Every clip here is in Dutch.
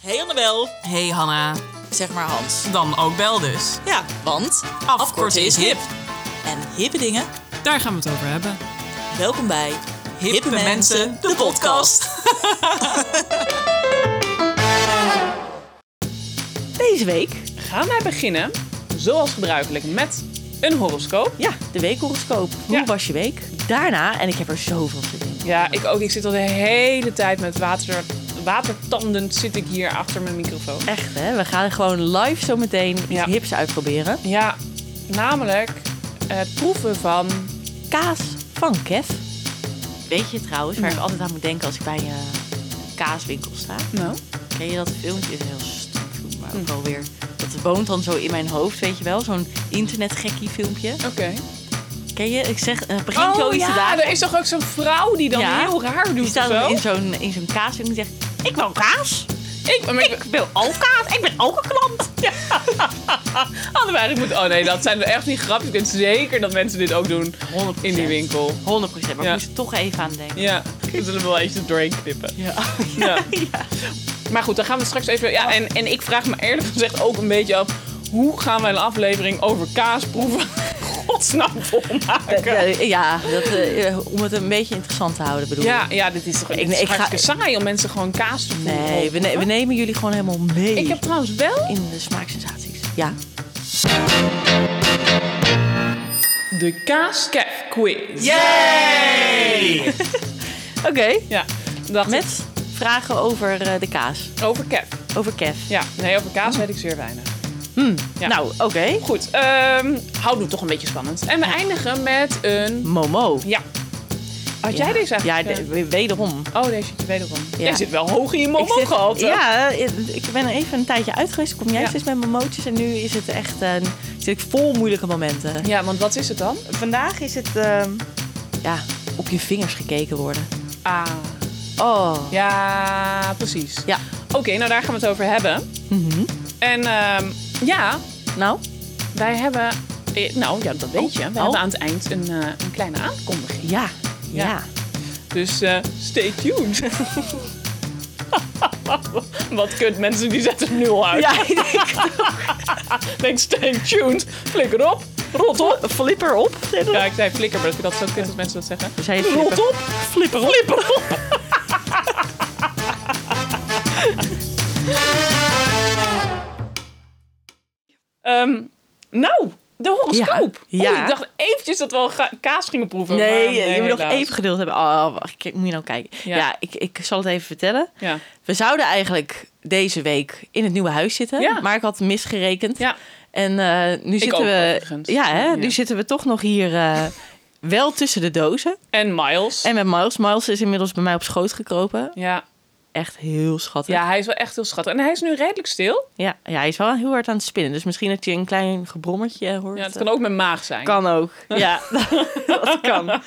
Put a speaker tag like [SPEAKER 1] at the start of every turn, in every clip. [SPEAKER 1] Hey Annabel.
[SPEAKER 2] Hey Hanna,
[SPEAKER 1] Zeg maar Hans.
[SPEAKER 2] dan ook bel dus.
[SPEAKER 1] Ja, want
[SPEAKER 2] Afkorten is hip.
[SPEAKER 1] En hippe dingen.
[SPEAKER 2] Daar gaan we het over hebben.
[SPEAKER 1] Welkom bij Hippe,
[SPEAKER 2] Mensen, de
[SPEAKER 3] Deze week,
[SPEAKER 4] gaan wij beginnen, zoals gebruikelijk, met een horoscoop.
[SPEAKER 3] ja, de weekhoroscoop. Hoe
[SPEAKER 4] Ja.
[SPEAKER 3] was je week? Daarna, en ik heb er zoveel zin in.
[SPEAKER 4] Ja, ik ook. Ik zit al de hele tijd met water, watertandend zit ik hier achter mijn microfoon.
[SPEAKER 3] Echt, hè? We gaan gewoon live zo meteen iets
[SPEAKER 4] Ja.
[SPEAKER 3] hips uitproberen.
[SPEAKER 4] Ja, namelijk het proeven van...
[SPEAKER 3] Kaas van Kev. Weet je trouwens, waar ik altijd aan moet denken als ik bij eh kaaswinkel sta?
[SPEAKER 4] Nou?
[SPEAKER 3] Ken je dat filmpje? Het is heel stom, maar ook alweer. Dat woont dan zo in mijn hoofd, weet je wel? Zo'n internetgekkie filmpje.
[SPEAKER 4] Oké.
[SPEAKER 3] Ken je? Ik zeg, eh, begin zoiets te
[SPEAKER 4] Oh, ja,
[SPEAKER 3] dagen.
[SPEAKER 4] er is toch ook zo'n vrouw die dan
[SPEAKER 3] Ja.
[SPEAKER 4] heel raar doet
[SPEAKER 3] Die staat
[SPEAKER 4] of zo?
[SPEAKER 3] dan in zo'n, in zo'n kaaswinkel en die zegt... Ik wil kaas.
[SPEAKER 4] Ik, maar ik,
[SPEAKER 3] Ik wil ook kaas. Ik ben ook een klant.
[SPEAKER 4] hadden we eigenlijk moeten... Oh nee, dat zijn echt niet grapjes. Ik weet zeker dat mensen dit ook doen
[SPEAKER 3] 100%.
[SPEAKER 4] in die winkel.
[SPEAKER 3] 100%, maar ik
[SPEAKER 4] Ja.
[SPEAKER 3] moest er toch even aan denken.
[SPEAKER 4] Ja, we zullen wel even doorheen knippen.
[SPEAKER 3] Ja.
[SPEAKER 4] Ja. Maar goed, dan gaan we straks even. Ja, en, en ik vraag me eerlijk gezegd ook een beetje af. Hoe gaan wij een aflevering over kaasproeven godsnaam
[SPEAKER 3] Dat,
[SPEAKER 4] volmaken?
[SPEAKER 3] eh, ja, dat, eh, om het een beetje interessant te houden bedoel
[SPEAKER 4] Ja,
[SPEAKER 3] ik.
[SPEAKER 4] ja, dit is toch
[SPEAKER 3] Ik-
[SPEAKER 4] ik,
[SPEAKER 3] ik ga-
[SPEAKER 4] hartstikke saai om mensen gewoon kaas te proeven.
[SPEAKER 3] Nee, we, ne- we nemen jullie gewoon helemaal mee
[SPEAKER 4] Ik heb trouwens wel
[SPEAKER 3] in de smaaksensaties. Ja.
[SPEAKER 4] de kaaskef quiz.
[SPEAKER 3] Oké.
[SPEAKER 4] Ja, dacht ik,
[SPEAKER 3] Met vragen over eh, de kaas.
[SPEAKER 4] over kef.
[SPEAKER 3] Over Kev.
[SPEAKER 4] Ja, nee, over kaas weet ik zeer weinig. Ja.
[SPEAKER 3] Nou, oké.
[SPEAKER 4] Goed, ehm houden we toch een beetje spannend. En we eindigen met een.
[SPEAKER 3] Momo.
[SPEAKER 4] Ja. Had jij
[SPEAKER 3] Ja.
[SPEAKER 4] deze eigenlijk? eh?
[SPEAKER 3] Ja, de- we- wederom.
[SPEAKER 4] Oh, deze zit je wederom.
[SPEAKER 3] Ja.
[SPEAKER 4] Jij zit wel hoog in je mond
[SPEAKER 3] zit-
[SPEAKER 4] opgehaald.
[SPEAKER 3] ja, eh, ik ben er even een tijdje uit geweest. Ik kom juist
[SPEAKER 4] Ja.
[SPEAKER 3] eens met mijn mootjes en nu is het echt een, zit ik vol moeilijke momenten.
[SPEAKER 4] ja, want wat is het dan?
[SPEAKER 3] Vandaag is het
[SPEAKER 4] ehm,
[SPEAKER 3] ja, op je vingers gekeken worden.
[SPEAKER 4] Ah,
[SPEAKER 3] Oh.
[SPEAKER 4] ja, precies.
[SPEAKER 3] Ja.
[SPEAKER 4] Oké, nou daar gaan we het over hebben.
[SPEAKER 3] Mhm.
[SPEAKER 4] En ehm, ja,
[SPEAKER 3] Nou,
[SPEAKER 4] wij hebben. eh, Nou ja, dat weet je. We
[SPEAKER 3] Oh.
[SPEAKER 4] hebben aan het eind een, eh, een kleine aankondiging.
[SPEAKER 3] ja. Ja.
[SPEAKER 4] Ja. Dus eh, stay tuned. Wat kunt mensen die zetten het nu al uit.
[SPEAKER 3] Ja, ik
[SPEAKER 4] Denk stay tuned. Flikker op. Rot op.
[SPEAKER 3] denk, flipper op.
[SPEAKER 4] Ja, ik zei flikker, maar dat vind ik dat zo kut dat mensen dat zeggen.
[SPEAKER 3] Zei je
[SPEAKER 4] Rot
[SPEAKER 3] flipper?
[SPEAKER 4] op. Flipper op. Flipper op. Ehm, nou, de horoscoop.
[SPEAKER 3] Ja, ja.
[SPEAKER 4] Oeh, ik dacht eventjes dat we al ga- kaas gingen proeven. maar,
[SPEAKER 3] Nee, je moet nog
[SPEAKER 4] helaas.
[SPEAKER 3] even geduld hebben. Oh, wacht, kijk, moet je nou kijken. Ja,
[SPEAKER 4] Ja.
[SPEAKER 3] ik, ik zal het even vertellen.
[SPEAKER 4] Ja.
[SPEAKER 3] We zouden eigenlijk deze week in het nieuwe huis zitten.
[SPEAKER 4] Ja.
[SPEAKER 3] Maar ik had misgerekend.
[SPEAKER 4] Ja.
[SPEAKER 3] En eh, nu zitten
[SPEAKER 4] ook
[SPEAKER 3] we...
[SPEAKER 4] overigens.
[SPEAKER 3] Ja, hè, nu
[SPEAKER 4] Ja.
[SPEAKER 3] zitten we toch nog hier eh, wel tussen de dozen.
[SPEAKER 4] En Miles.
[SPEAKER 3] En met Miles. Miles is inmiddels bij mij op schoot gekropen.
[SPEAKER 4] Ja.
[SPEAKER 3] Echt heel schattig.
[SPEAKER 4] ja, hij is wel echt heel schattig. En hij is nu redelijk stil.
[SPEAKER 3] Ja, ja, hij is wel heel hard aan het spinnen. Dus misschien dat je een klein gebrommetje eh, hoort.
[SPEAKER 4] Ja, dat kan ook mijn maag zijn.
[SPEAKER 3] Kan ook. Ja, dat kan. Nee,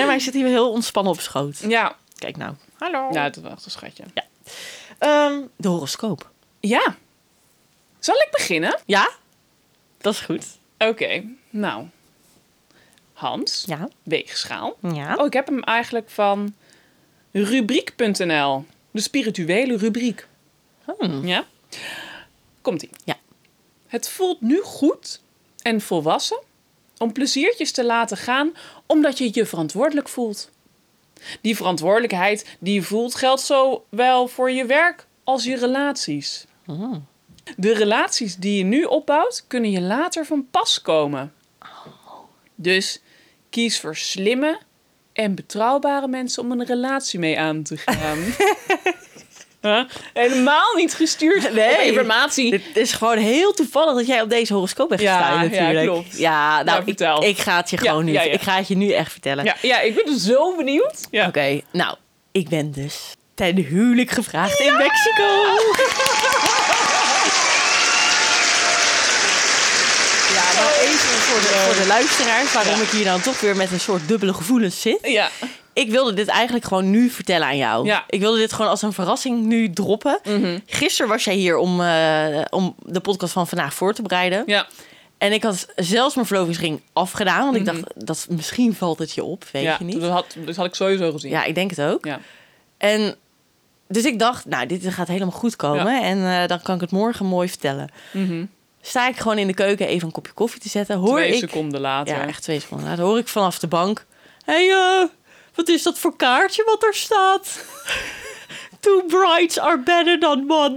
[SPEAKER 3] maar hij zit hier heel ontspannen op schoot.
[SPEAKER 4] Ja.
[SPEAKER 3] Kijk nou. Hallo.
[SPEAKER 4] Ja, dat is wel echt een schatje.
[SPEAKER 3] Ehm, de horoscoop.
[SPEAKER 4] Ja. Zal ik beginnen?
[SPEAKER 3] Ja? Dat is goed.
[SPEAKER 4] Oké. Nou. Hans.
[SPEAKER 3] Ja.
[SPEAKER 4] Weegschaal.
[SPEAKER 3] Ja.
[SPEAKER 4] Oh, ik heb hem eigenlijk van rubriek.nl. De spirituele rubriek. Ja? Komt-ie.
[SPEAKER 3] Hmm. Ja.
[SPEAKER 4] Het voelt nu goed en volwassen om pleziertjes te laten gaan omdat je je verantwoordelijk voelt. Die verantwoordelijkheid die je voelt geldt zowel voor je werk als je relaties. Mm. De relaties die je nu opbouwt kunnen je later van pas komen. Dus kies voor slimme en betrouwbare mensen om een relatie mee aan te gaan. Huh? Helemaal niet gestuurd op
[SPEAKER 3] Nee.
[SPEAKER 4] informatie.
[SPEAKER 3] Dit is gewoon heel toevallig dat jij op deze horoscoop bent
[SPEAKER 4] Ja,
[SPEAKER 3] gestaan
[SPEAKER 4] ja,
[SPEAKER 3] natuurlijk.
[SPEAKER 4] klopt.
[SPEAKER 3] Ja, nou,
[SPEAKER 4] Nou,
[SPEAKER 3] ik,
[SPEAKER 4] vertel.
[SPEAKER 3] ik ga het je gewoon nu,
[SPEAKER 4] ja, ja.
[SPEAKER 3] ik ga het je nu echt vertellen.
[SPEAKER 4] Ja, ja, ik ben dus zo benieuwd. Ja.
[SPEAKER 3] Oké, nou, ik ben dus ten huwelijk gevraagd in Mexico. Ja, nou even
[SPEAKER 4] Oh.
[SPEAKER 3] voor de, voor de luisteraars waarom
[SPEAKER 4] Ja.
[SPEAKER 3] ik hier dan toch weer met een soort dubbele gevoelens zit.
[SPEAKER 4] Ja,
[SPEAKER 3] Ik wilde dit eigenlijk gewoon nu vertellen aan jou.
[SPEAKER 4] Ja. Mhm.
[SPEAKER 3] Ik wilde dit gewoon als een verrassing nu droppen. Gisteren was jij hier om, eh, om de podcast van vandaag voor te bereiden.
[SPEAKER 4] ja,
[SPEAKER 3] En ik had zelfs mijn verlovingsring afgedaan. Want ik dacht, dat, misschien valt het je op, weet
[SPEAKER 4] Mhm. ja.
[SPEAKER 3] je niet.
[SPEAKER 4] Dat, had, dat had ik sowieso gezien.
[SPEAKER 3] Ja, ik denk het ook.
[SPEAKER 4] Ja.
[SPEAKER 3] En Dus ik dacht, nou, dit gaat helemaal goed komen. En eh, dan kan ik het morgen mooi vertellen.
[SPEAKER 4] Mhm.
[SPEAKER 3] Sta ik gewoon in de keuken even een kopje koffie te zetten. Hoor
[SPEAKER 4] Twee
[SPEAKER 3] ik,
[SPEAKER 4] seconden later.
[SPEAKER 3] Ja, echt twee seconden later. Hoor ik vanaf de bank. Hé, hey, eh, wat is dat voor kaartje wat er staat? Two brides are better than one.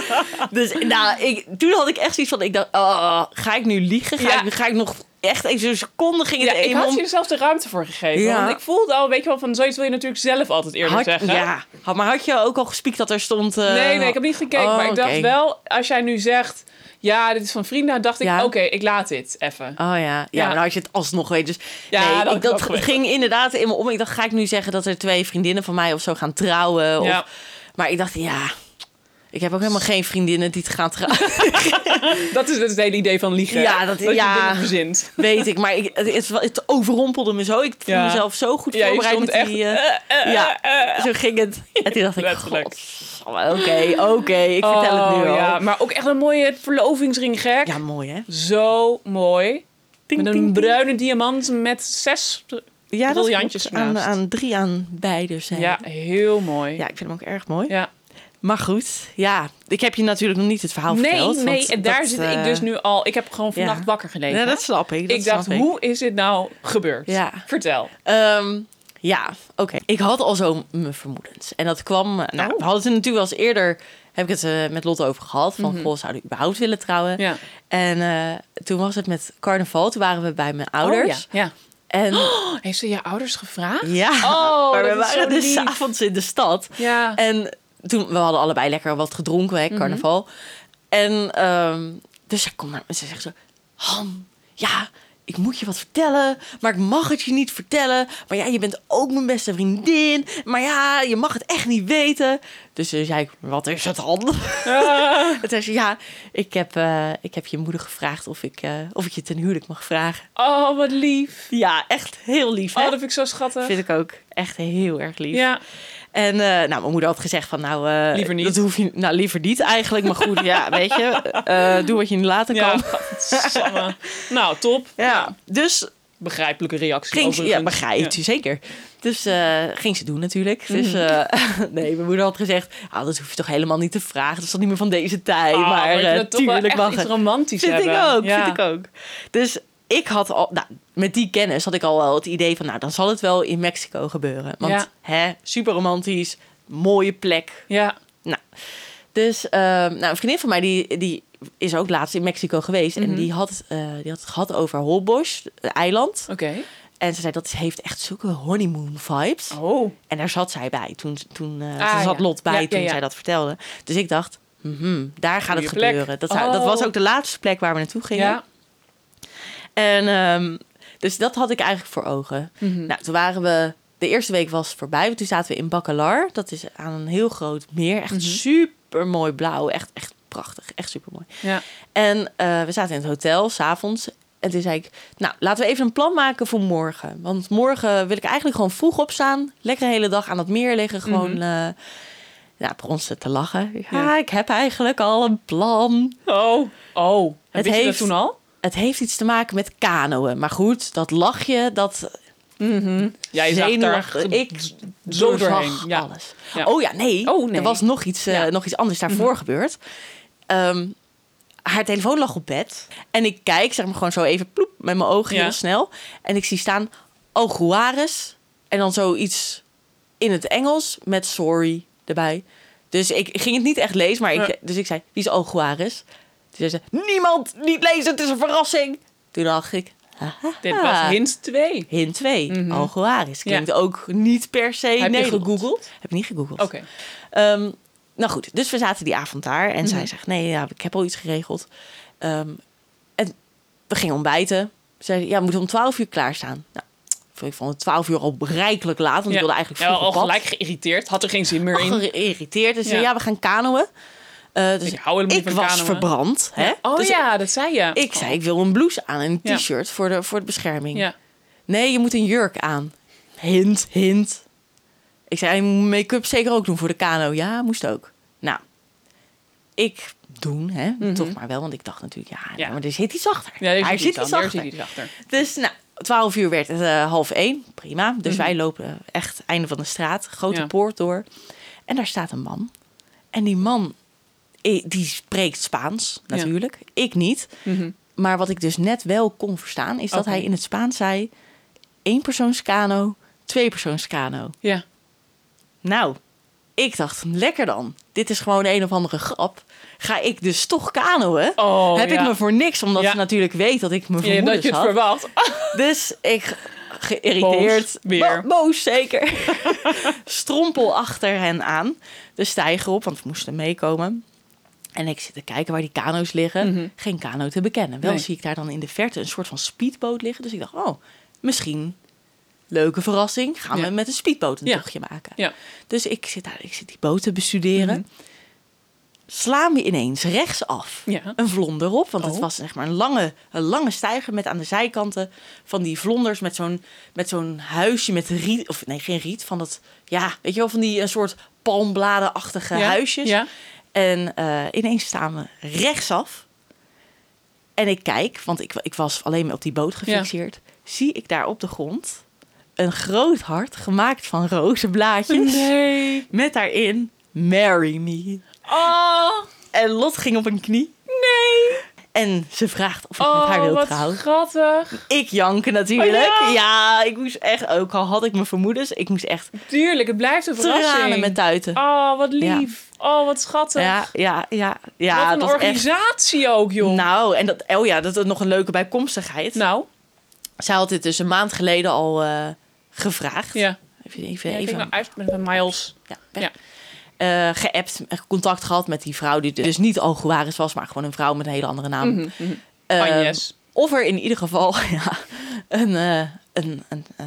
[SPEAKER 3] dus nou, ik, toen had ik echt zoiets van... Ik dacht, ah, ga ik nu liegen? Ga,
[SPEAKER 4] Ja.
[SPEAKER 3] ik, ga ik nog... Echt even zo'n seconde ging het
[SPEAKER 4] Ja, ik
[SPEAKER 3] even
[SPEAKER 4] had
[SPEAKER 3] om.
[SPEAKER 4] je er zelf de ruimte voor gegeven.
[SPEAKER 3] Ja.
[SPEAKER 4] Want ik voelde al, weet je wel, van zoiets wil je natuurlijk zelf altijd eerder
[SPEAKER 3] Had-
[SPEAKER 4] zeggen.
[SPEAKER 3] ja, had, maar had je ook al gespiekt dat er stond... eh,
[SPEAKER 4] Nee, nee, ik heb niet gekeken.
[SPEAKER 3] Oh,
[SPEAKER 4] maar ik dacht
[SPEAKER 3] oké.
[SPEAKER 4] wel, als jij nu zegt, ja, dit is van vrienden, dacht ik,
[SPEAKER 3] Ja.
[SPEAKER 4] oké, ik laat dit even.
[SPEAKER 3] Oh ja, ja,
[SPEAKER 4] Ja.
[SPEAKER 3] maar dan had je het alsnog weten. Dus
[SPEAKER 4] Ja,
[SPEAKER 3] nee,
[SPEAKER 4] dat had
[SPEAKER 3] ik,
[SPEAKER 4] ik
[SPEAKER 3] dat
[SPEAKER 4] ook geweten.
[SPEAKER 3] ging inderdaad in me om. Ik dacht, ga ik nu zeggen dat er twee vriendinnen van mij of zo gaan trouwen?
[SPEAKER 4] Ja.
[SPEAKER 3] Of, maar ik dacht, ja, ik heb ook helemaal geen vriendinnen die het gaan trouwen.
[SPEAKER 4] Dat, is, dat is het hele idee van liegen.
[SPEAKER 3] Ja, dat-
[SPEAKER 4] je
[SPEAKER 3] ja.
[SPEAKER 4] dingen verzint.
[SPEAKER 3] weet ik, maar ik, het, het- het overrompelde me zo. Ik voelde
[SPEAKER 4] Ja.
[SPEAKER 3] mezelf zo goed
[SPEAKER 4] Ja, je
[SPEAKER 3] voorbereid
[SPEAKER 4] stond
[SPEAKER 3] met
[SPEAKER 4] echt...
[SPEAKER 3] die... eh,
[SPEAKER 4] eh, eh,
[SPEAKER 3] ja,
[SPEAKER 4] eh, eh.
[SPEAKER 3] zo ging het. En toen dacht ik,
[SPEAKER 4] Letterlijk.
[SPEAKER 3] "Godsamme, oké, oké, ik vertel het nu
[SPEAKER 4] Oh,
[SPEAKER 3] al.
[SPEAKER 4] Ja,
[SPEAKER 3] Ja,
[SPEAKER 4] maar ook echt een mooie verlovingsring, gek.
[SPEAKER 3] mooi hè?
[SPEAKER 4] Zo mooi.
[SPEAKER 3] Ding,
[SPEAKER 4] met een
[SPEAKER 3] ding, ding.
[SPEAKER 4] bruine diamant met zes...
[SPEAKER 3] Ja, dat
[SPEAKER 4] briljantjes
[SPEAKER 3] klopt. aan,
[SPEAKER 4] ernaast.
[SPEAKER 3] aan drie aan beide zijn.
[SPEAKER 4] Ja, heel mooi.
[SPEAKER 3] ja, ik vind hem ook erg mooi.
[SPEAKER 4] Ja.
[SPEAKER 3] Maar goed, ja, ik heb je natuurlijk nog niet het verhaal
[SPEAKER 4] Nee,
[SPEAKER 3] verteld.
[SPEAKER 4] nee,
[SPEAKER 3] want
[SPEAKER 4] en daar
[SPEAKER 3] dat,
[SPEAKER 4] zit
[SPEAKER 3] eh,
[SPEAKER 4] ik dus nu al. Ik heb gewoon vannacht
[SPEAKER 3] ja.
[SPEAKER 4] wakker gelegen.
[SPEAKER 3] Ja, dat snap ik. Dat
[SPEAKER 4] ik dacht,
[SPEAKER 3] snap
[SPEAKER 4] hoe is dit nou gebeurd?
[SPEAKER 3] Ja.
[SPEAKER 4] Vertel.
[SPEAKER 3] Ehm, ja, oké. Ik had al zo mijn vermoedens. En dat kwam... eh, Nou,
[SPEAKER 4] Oh.
[SPEAKER 3] we hadden het er natuurlijk wel eens eerder... Heb ik het eh, met Lotte over gehad. Van, goh, zouden we überhaupt willen trouwen?
[SPEAKER 4] Mhm. Ja.
[SPEAKER 3] En eh, toen was het met carnaval. Toen waren we bij mijn ouders.
[SPEAKER 4] Oh, ja.
[SPEAKER 3] En
[SPEAKER 4] ja. Heeft ze je ouders gevraagd?
[SPEAKER 3] ja,
[SPEAKER 4] Oh,
[SPEAKER 3] maar
[SPEAKER 4] dat
[SPEAKER 3] we
[SPEAKER 4] is zo
[SPEAKER 3] waren dus
[SPEAKER 4] lief.
[SPEAKER 3] avonds in de stad.
[SPEAKER 4] Ja. Mhm.
[SPEAKER 3] En toen, we hadden allebei lekker wat gedronken, hè, carnaval. En ehm, dus ze komt naar me en ze zegt zo... Han, ja, ik moet je wat vertellen, maar ik mag het je niet vertellen. Maar ja, je bent ook mijn beste vriendin. Maar ja, je mag het echt niet weten. Dus toen zei ik, wat is het, Han? En toen zei ze, ja, ik heb, eh, ik heb je moeder gevraagd of ik, eh, of ik je ten huwelijk mag vragen.
[SPEAKER 4] Oh, wat lief.
[SPEAKER 3] Ja, echt heel lief,
[SPEAKER 4] Oh,
[SPEAKER 3] hè?
[SPEAKER 4] dat vind ik zo schattig.
[SPEAKER 3] vind ik ook echt heel erg lief.
[SPEAKER 4] Ja.
[SPEAKER 3] En eh, nou, mijn moeder had gezegd van, nou, eh,
[SPEAKER 4] Liever niet.
[SPEAKER 3] dat hoef je, nou, liever niet eigenlijk. Maar goed, ja, weet je, eh, doe wat je later
[SPEAKER 4] Ja,
[SPEAKER 3] kan.
[SPEAKER 4] godsamme. nou, top.
[SPEAKER 3] Ja, dus
[SPEAKER 4] Begrijpelijke reactie.
[SPEAKER 3] ging ze, ja,
[SPEAKER 4] overigens.
[SPEAKER 3] begrijpt u zeker. Dus eh, ging ze doen natuurlijk. Dus
[SPEAKER 4] Mhm.
[SPEAKER 3] eh, nee, mijn moeder had gezegd, ah, dat hoef je toch helemaal niet te vragen. Dat is toch niet meer van deze tijd.
[SPEAKER 4] Ah,
[SPEAKER 3] maar
[SPEAKER 4] ik vind
[SPEAKER 3] eh
[SPEAKER 4] het toch wel
[SPEAKER 3] tuurlijk
[SPEAKER 4] echt
[SPEAKER 3] mag
[SPEAKER 4] iets
[SPEAKER 3] het.
[SPEAKER 4] romantisch
[SPEAKER 3] Vind ik
[SPEAKER 4] hebben.
[SPEAKER 3] ook,
[SPEAKER 4] Ja.
[SPEAKER 3] vind ik ook. Dus ik had al, nou, met die kennis had ik al wel het idee van, nou, dan zal het wel in Mexico gebeuren. Want,
[SPEAKER 4] Ja.
[SPEAKER 3] hè, super romantisch, mooie plek,
[SPEAKER 4] Ja.
[SPEAKER 3] Nou, dus ehm, nou, een vriendin van mij die, die is ook laatst in Mexico geweest.
[SPEAKER 4] Mhm.
[SPEAKER 3] En die had, eh, die had het gehad over Holbox, het eiland.
[SPEAKER 4] Oké.
[SPEAKER 3] En ze zei dat heeft echt zulke honeymoon vibes.
[SPEAKER 4] Oh.
[SPEAKER 3] En daar zat zij bij. Toen, toen, eh,
[SPEAKER 4] Ah,
[SPEAKER 3] ze zat
[SPEAKER 4] ja.
[SPEAKER 3] Lot bij
[SPEAKER 4] Ja,
[SPEAKER 3] toen
[SPEAKER 4] ja, ja.
[SPEAKER 3] zij dat vertelde. Dus ik dacht, mhm, daar gaat
[SPEAKER 4] Goeie
[SPEAKER 3] het
[SPEAKER 4] plek.
[SPEAKER 3] gebeuren. Dat, zou- dat
[SPEAKER 4] Oh.
[SPEAKER 3] was ook de laatste plek waar we naartoe gingen.
[SPEAKER 4] Ja.
[SPEAKER 3] En ehm, dus dat had ik eigenlijk voor ogen. Nou, toen waren we. De eerste week was voorbij. want Toen zaten we in Bacalar. Dat is aan een heel groot meer. Echt super mooi blauw. Echt, echt prachtig. Echt super mooi.
[SPEAKER 4] Ja.
[SPEAKER 3] En eh, we zaten in het hotel s'avonds. En toen zei ik, nou, laten we even een plan maken voor morgen. Want morgen wil ik eigenlijk gewoon vroeg opstaan. Lekker de hele dag aan het meer liggen. Gewoon, eh nou, per ons te lachen. Ja,
[SPEAKER 4] Ja.
[SPEAKER 3] ik heb eigenlijk al een plan.
[SPEAKER 4] Oh. Oh.
[SPEAKER 3] Het
[SPEAKER 4] Het Wist je dat
[SPEAKER 3] heeft-
[SPEAKER 4] toen al?
[SPEAKER 3] Het heeft iets te maken met kanoën. Maar goed, dat lachje, dat
[SPEAKER 4] Ja, je zag daar...
[SPEAKER 3] zenuwachtig. Ik
[SPEAKER 4] zo
[SPEAKER 3] doorzag
[SPEAKER 4] doorheen. Ja.
[SPEAKER 3] alles.
[SPEAKER 4] Ja.
[SPEAKER 3] Oh ja, nee.
[SPEAKER 4] Oh, nee.
[SPEAKER 3] Er was nog iets, eh,
[SPEAKER 4] Ja. Mhm.
[SPEAKER 3] nog iets anders daarvoor gebeurd. Ehm, haar telefoon lag op bed. En ik kijk, zeg maar gewoon zo even ploep, met mijn ogen
[SPEAKER 4] Ja.
[SPEAKER 3] heel snel. En ik zie staan oh Juarez. En dan zoiets in het Engels met sorry erbij. Dus ik ging het niet echt lezen, maar ik,
[SPEAKER 4] Ja.
[SPEAKER 3] dus ik zei, wie is Oguares? Toen zei ze, niemand, niet lezen, het is een verrassing. Ah. Toen dacht ik, haha.
[SPEAKER 4] Dit was hint 2.
[SPEAKER 3] Hint 2, mm Klinkt
[SPEAKER 4] Mhm. Ja.
[SPEAKER 3] ook niet per se
[SPEAKER 4] je
[SPEAKER 3] Nederlands.
[SPEAKER 4] gegoogeld?
[SPEAKER 3] Heb niet gegoogeld.
[SPEAKER 4] Oké.
[SPEAKER 3] Ehm, nou goed, dus we zaten die avond daar. En
[SPEAKER 4] Mhm.
[SPEAKER 3] zij zegt, nee, ja, ik heb al iets geregeld. Ehm, en we gingen ontbijten. Zij zei, ja, we moeten om 12 uur klaarstaan. Nou, ik vond het 12 uur al rijkelijk laat. Want ik wilde eigenlijk vroeg
[SPEAKER 4] ja, al
[SPEAKER 3] op pad. Oh,
[SPEAKER 4] gelijk geïrriteerd. Had er geen zin meer in.
[SPEAKER 3] Al geïrriteerd. Dus ja.
[SPEAKER 4] Ja.
[SPEAKER 3] ja, we gaan kanoën. Eh, dus
[SPEAKER 4] Ik hou helemaal niet
[SPEAKER 3] ik
[SPEAKER 4] van
[SPEAKER 3] was
[SPEAKER 4] kanoën.
[SPEAKER 3] verbrand. Hè?
[SPEAKER 4] Oh
[SPEAKER 3] Dus
[SPEAKER 4] ja, dat zei je.
[SPEAKER 3] Ik zei, ik wil een blouse aan en
[SPEAKER 4] Ja.
[SPEAKER 3] een t-shirt voor, de, voor de bescherming.
[SPEAKER 4] Ja.
[SPEAKER 3] Nee, je moet een jurk aan. Hint, hint. Ik zei, je moet make-up zeker ook doen voor de kano. Ja, moest ook. Nou, ik doen, hè. Toch maar wel, want ik dacht natuurlijk, ja,
[SPEAKER 4] Mhm. Ja.
[SPEAKER 3] maar er zit iets achter.
[SPEAKER 4] Ja, daar
[SPEAKER 3] Hij
[SPEAKER 4] zit iets aan. Daar zit
[SPEAKER 3] achter.
[SPEAKER 4] iets achter.
[SPEAKER 3] Dus nou, 12 uur werd het eh, half één. Prima. Dus wij lopen echt einde van de straat. Grote
[SPEAKER 4] Mhm. Ja.
[SPEAKER 3] poort door. En daar staat een man. En die man, eh, die spreekt Spaans natuurlijk. Ik niet. Maar wat ik dus net wel kon verstaan, is dat
[SPEAKER 4] Mhm. Oké.
[SPEAKER 3] hij in het Spaans zei: eenpersoonskano, tweepersoonskano.
[SPEAKER 4] Ja.
[SPEAKER 3] Nou, ik dacht, lekker dan. Dit is gewoon een of andere grap. Ga ik dus toch kanoën?
[SPEAKER 4] Oh,
[SPEAKER 3] Heb
[SPEAKER 4] ja.
[SPEAKER 3] ik me voor niks, omdat
[SPEAKER 4] Ja.
[SPEAKER 3] ze natuurlijk weet dat ik me
[SPEAKER 4] Ja,
[SPEAKER 3] vermoedens
[SPEAKER 4] dat je het
[SPEAKER 3] had.
[SPEAKER 4] verwacht. Ah.
[SPEAKER 3] Dus ik ge- geïrriteerd,
[SPEAKER 4] Boos, weer.
[SPEAKER 3] bo- boos zeker, strompel achter hen aan de steiger op, want we moesten meekomen. En ik zit te kijken waar die kano's liggen. Geen kano te bekennen. Wel
[SPEAKER 4] Mhm. Nee.
[SPEAKER 3] zie ik daar dan in de verte een soort van speedboot liggen. Dus ik dacht, oh, misschien leuke verrassing. Gaan
[SPEAKER 4] Ja.
[SPEAKER 3] we met een speedboot een
[SPEAKER 4] Ja.
[SPEAKER 3] tochtje maken.
[SPEAKER 4] Ja.
[SPEAKER 3] Dus ik zit daar, ik zit die boot te bestuderen.
[SPEAKER 4] Mhm.
[SPEAKER 3] Slaan we ineens rechtsaf
[SPEAKER 4] Ja.
[SPEAKER 3] een vlonder op. Want het
[SPEAKER 4] Oh.
[SPEAKER 3] was zeg maar een lange, een lange stijger met aan de zijkanten van die vlonders. Met zo'n, met zo'n huisje met riet. Of nee, geen riet. Van dat, ja, weet je wel, van die een soort palmbladenachtige
[SPEAKER 4] Ja,
[SPEAKER 3] huisjes.
[SPEAKER 4] ja.
[SPEAKER 3] En eh, ineens staan we rechtsaf. En ik kijk, want ik, ik was alleen maar op die boot gefixeerd. Zie ik daar op de grond een groot hart gemaakt van roze blaadjes.
[SPEAKER 4] Nee.
[SPEAKER 3] Met daarin Marry Me.
[SPEAKER 4] Oh,
[SPEAKER 3] En Lot ging op een knie.
[SPEAKER 4] nee.
[SPEAKER 3] En ze vraagt of ik met haar
[SPEAKER 4] Oh,
[SPEAKER 3] wil
[SPEAKER 4] wat
[SPEAKER 3] trouwen.
[SPEAKER 4] schattig.
[SPEAKER 3] Ik janken natuurlijk.
[SPEAKER 4] Oh ja.
[SPEAKER 3] ja. ik moest echt, ook al had ik mijn vermoedens, ik moest echt
[SPEAKER 4] Tuurlijk, het blijft een verrassing.
[SPEAKER 3] tranen met tuiten.
[SPEAKER 4] Oh, wat lief. Oh, wat schattig.
[SPEAKER 3] ja, ja, ja. ja
[SPEAKER 4] wat een
[SPEAKER 3] dat was echt-
[SPEAKER 4] organisatie ook, joh.
[SPEAKER 3] Nou, en dat, oh ja, dat is nog een leuke bijkomstigheid.
[SPEAKER 4] Nou,
[SPEAKER 3] Zij had dit dus een maand geleden al eh, gevraagd.
[SPEAKER 4] ja.
[SPEAKER 3] Even, even,
[SPEAKER 4] Ja, ik
[SPEAKER 3] even
[SPEAKER 4] denk nou uit met met Miles.
[SPEAKER 3] ja,
[SPEAKER 4] Ja.
[SPEAKER 3] eh, geappt, eh, contact gehad met die vrouw die dus niet Alguaris was, maar gewoon een vrouw met een hele andere naam.
[SPEAKER 4] Mhm. Oh,
[SPEAKER 3] Eh,
[SPEAKER 4] Agnes.
[SPEAKER 3] Of er in ieder geval ja, een, eh, een, een, eh,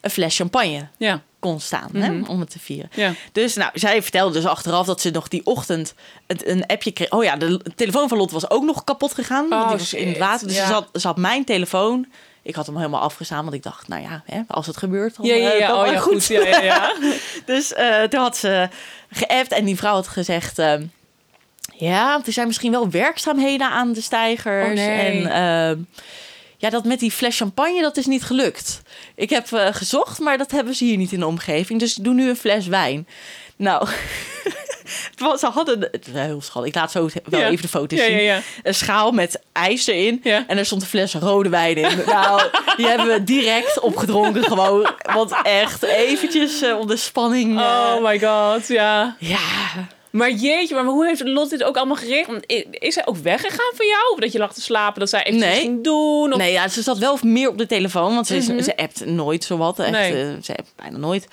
[SPEAKER 3] een fles champagne
[SPEAKER 4] Ja.
[SPEAKER 3] kon staan
[SPEAKER 4] Mhm.
[SPEAKER 3] hè, om het te vieren.
[SPEAKER 4] Ja.
[SPEAKER 3] Dus nou, zij vertelde dus achteraf dat ze nog die ochtend het, een appje kreeg. Oh ja, de l- telefoon van Lot was ook nog kapot gegaan.
[SPEAKER 4] Oh,
[SPEAKER 3] want die was in het
[SPEAKER 4] shit,
[SPEAKER 3] water. Dus
[SPEAKER 4] ja.
[SPEAKER 3] ze had, ze had mijn telefoon. Ik had hem helemaal afgestaan, want ik dacht, nou ja, hè, als het gebeurt, dan
[SPEAKER 4] Ja, ja,
[SPEAKER 3] eh,
[SPEAKER 4] ja.
[SPEAKER 3] kan
[SPEAKER 4] Oh,
[SPEAKER 3] wel
[SPEAKER 4] ja, goed. Ja, ja, ja.
[SPEAKER 3] dus eh, toen had ze geappt en die vrouw had gezegd... ehm, ja, want er zijn misschien wel werkzaamheden aan de stijgers.
[SPEAKER 4] Oh, nee.
[SPEAKER 3] En ehm, ja, dat met die fles champagne, dat is niet gelukt. Ik heb eh, gezocht, maar dat hebben ze hier niet in de omgeving. Dus doe nu een fles wijn. Nou, het was, ze hadden... Het was heel schattig. Ik laat zo wel
[SPEAKER 4] Ja.
[SPEAKER 3] even de foto's
[SPEAKER 4] Ja, ja,
[SPEAKER 3] zien.
[SPEAKER 4] ja.
[SPEAKER 3] Een schaal met ijs erin.
[SPEAKER 4] Ja.
[SPEAKER 3] En er stond een fles rode wijn in. Nou, die hebben we direct opgedronken gewoon. Want echt, eventjes eh, om de spanning... eh,
[SPEAKER 4] Oh my god, ja.
[SPEAKER 3] ja,
[SPEAKER 4] Maar jeetje, maar hoe heeft Lot dit ook allemaal gericht? Want i- Is zij ook weggegaan van jou? Of dat je lag te slapen, dat zij even
[SPEAKER 3] Nee.
[SPEAKER 4] iets ging doen? Of...
[SPEAKER 3] Nee, ja, ze zat wel meer op de telefoon, want ze, is, ze appt nooit zowat. Echt,
[SPEAKER 4] Nee.
[SPEAKER 3] eh, ze appt bijna nooit.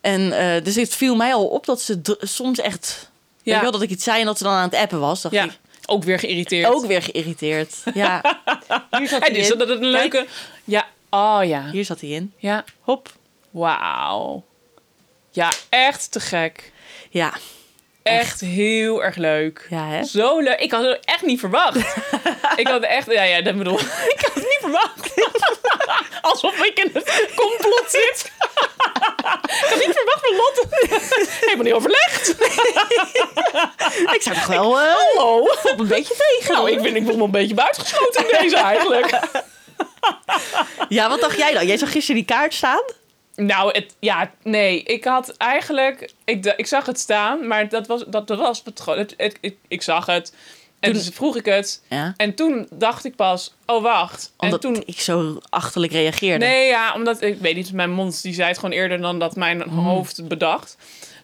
[SPEAKER 3] En eh, dus het viel mij al op dat ze dr- soms echt... Weet je wel, dat ik iets zei en dat ze dan aan het appen was. Dacht
[SPEAKER 4] ja.
[SPEAKER 3] ik,
[SPEAKER 4] Ook weer geïrriteerd.
[SPEAKER 3] ook weer geïrriteerd. Ja, hier zat
[SPEAKER 4] En
[SPEAKER 3] hij
[SPEAKER 4] is
[SPEAKER 3] in.
[SPEAKER 4] dat het een
[SPEAKER 3] Kijk,
[SPEAKER 4] leuke... Ja, oh ja.
[SPEAKER 3] Hier zat hij in.
[SPEAKER 4] Ja,
[SPEAKER 3] Hop.
[SPEAKER 4] wauw. Ja, echt te gek.
[SPEAKER 3] Ja,
[SPEAKER 4] Echt heel erg leuk.
[SPEAKER 3] ja hè?
[SPEAKER 4] Zo leuk. Ik had het echt niet verwacht. ik had echt... Ja, ja, dat bedoel ik. Ik had het niet verwacht. Alsof ik in het complot zit. ik had niet verwacht van Lotte. Helemaal niet overlegd.
[SPEAKER 3] Ik zou toch wel eh,
[SPEAKER 4] Oh.
[SPEAKER 3] op een beetje tegen.
[SPEAKER 4] Nou, ik ben ik voel me een beetje buitengesloten in deze eigenlijk.
[SPEAKER 3] Ja, wat dacht jij dan? Jij zag gisteren die kaart staan.
[SPEAKER 4] Nou, het, ja, nee. Ik had eigenlijk... Ik, d- ik zag het staan, maar dat was, dat was het gewoon. Het, het- ik, ik zag het. En toen vroeg ik het.
[SPEAKER 3] Ja.
[SPEAKER 4] En toen dacht ik pas, oh wacht.
[SPEAKER 3] Omdat
[SPEAKER 4] en toen
[SPEAKER 3] ik zo achterlijk reageerde.
[SPEAKER 4] Nee, ja, omdat ik weet niet, mijn mond die zei het gewoon eerder dan dat mijn
[SPEAKER 3] Mhm.
[SPEAKER 4] hoofd het bedacht.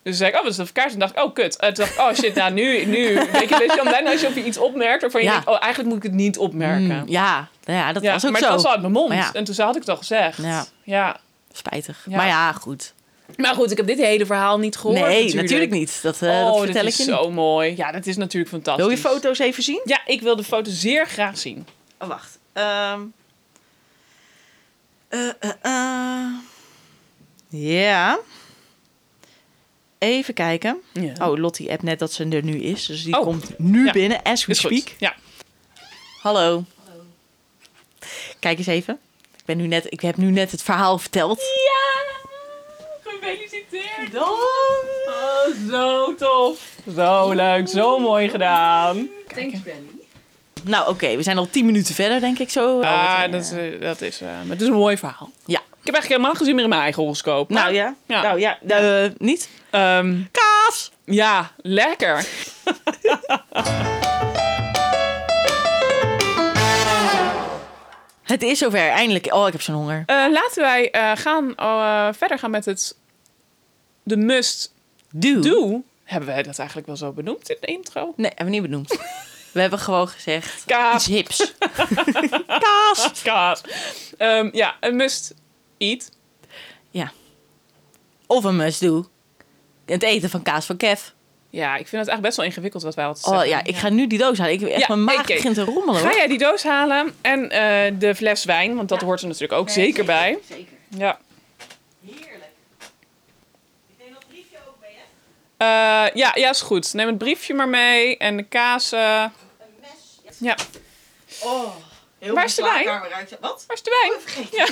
[SPEAKER 4] Dus zei ik, oh, dat is een kaars. En dacht ik, oh, kut. En toen dacht ik, oh shit, nou nu, nu. Weet je, weet je, dan bijna als je op je iets opmerkt waarvan je
[SPEAKER 3] Ja.
[SPEAKER 4] denkt, oh, eigenlijk moet ik het niet opmerken.
[SPEAKER 3] Mm, ja, nou ja, dat
[SPEAKER 4] Ja,
[SPEAKER 3] was ook
[SPEAKER 4] maar
[SPEAKER 3] zo.
[SPEAKER 4] het was al uit mijn mond.
[SPEAKER 3] Maar ja.
[SPEAKER 4] En toen had ik het al gezegd.
[SPEAKER 3] Ja.
[SPEAKER 4] ja.
[SPEAKER 3] Spijtig.
[SPEAKER 4] Ja.
[SPEAKER 3] Maar ja, goed.
[SPEAKER 4] Maar goed, ik heb dit hele verhaal niet gehoord.
[SPEAKER 3] Nee, natuurlijk. niet. Dat, eh,
[SPEAKER 4] oh,
[SPEAKER 3] dat vertel
[SPEAKER 4] dit
[SPEAKER 3] ik
[SPEAKER 4] is
[SPEAKER 3] je niet.
[SPEAKER 4] zo mooi. Ja, dat is natuurlijk fantastisch.
[SPEAKER 3] Wil je foto's even zien?
[SPEAKER 4] Ja, ik wil de foto zeer graag zien.
[SPEAKER 3] Oh, wacht. Ehm. Eh, eh, eh. Ja. Even kijken.
[SPEAKER 4] Ja.
[SPEAKER 3] Oh, Lottie appt net dat ze er nu is. Dus die
[SPEAKER 4] Oh.
[SPEAKER 3] komt nu
[SPEAKER 4] Ja.
[SPEAKER 3] binnen, as we
[SPEAKER 4] is
[SPEAKER 3] speak.
[SPEAKER 4] goed. Ja.
[SPEAKER 3] Hallo. Kijk eens even. Ik, ben nu net, ik heb nu net het verhaal verteld.
[SPEAKER 4] Ja! Gefeliciteerd!
[SPEAKER 3] Dan.
[SPEAKER 4] Oh, zo tof. Zo leuk, zo mooi
[SPEAKER 3] Oh,
[SPEAKER 4] gedaan.
[SPEAKER 3] Nou, oké. We zijn al tien minuten verder, denk ik zo. Oh, wat
[SPEAKER 4] Ah,
[SPEAKER 3] een,
[SPEAKER 4] dat is,
[SPEAKER 3] eh,
[SPEAKER 4] eh, dat is, eh, maar het is een mooi verhaal.
[SPEAKER 3] Ja.
[SPEAKER 4] Ik heb eigenlijk helemaal geen zin meer in mijn eigen horoscoop.
[SPEAKER 3] Nou eh, ja.
[SPEAKER 4] Ja.
[SPEAKER 3] Nou ja. eh, niet.
[SPEAKER 4] Ehm,
[SPEAKER 3] Ka- kaas.
[SPEAKER 4] Ja, lekker. Eh,
[SPEAKER 3] Het is zover, eindelijk. Oh, ik heb zo'n honger.
[SPEAKER 4] Eh, laten wij eh, gaan, eh, verder gaan met het... De must
[SPEAKER 3] Doe.
[SPEAKER 4] do. Hebben wij dat eigenlijk wel zo benoemd in de intro?
[SPEAKER 3] Nee, hebben we niet benoemd. We hebben gewoon gezegd, iets
[SPEAKER 4] Kaas.
[SPEAKER 3] hips.
[SPEAKER 4] Kaas. Kaas. Ehm, ja, een must eat.
[SPEAKER 3] Of een must do. Het eten van kaas van Kev.
[SPEAKER 4] Ja, ik vind het eigenlijk best wel ingewikkeld wat wij altijd
[SPEAKER 3] Oh
[SPEAKER 4] zeggen.
[SPEAKER 3] ja, ik ga nu die doos halen. Ik, echt,
[SPEAKER 4] Ja,
[SPEAKER 3] mijn maag
[SPEAKER 4] oké.
[SPEAKER 3] begint te rommelen.
[SPEAKER 4] Ga
[SPEAKER 3] hoor.
[SPEAKER 4] jij die doos halen en eh, de fles wijn, want dat hoort er natuurlijk ook zeker, bij.
[SPEAKER 3] Zeker.
[SPEAKER 4] Ja.
[SPEAKER 3] Heerlijk. Ik neem dat briefje ook mee, hè?
[SPEAKER 4] Eh, ja, ja, is goed. Neem het briefje maar mee en de kaas. eh,
[SPEAKER 3] Een mes.
[SPEAKER 4] ja,
[SPEAKER 3] Oh. Heel
[SPEAKER 4] Waar is de mijn wijn?
[SPEAKER 3] Wat? Oh,
[SPEAKER 4] waar is de wijn? Ja.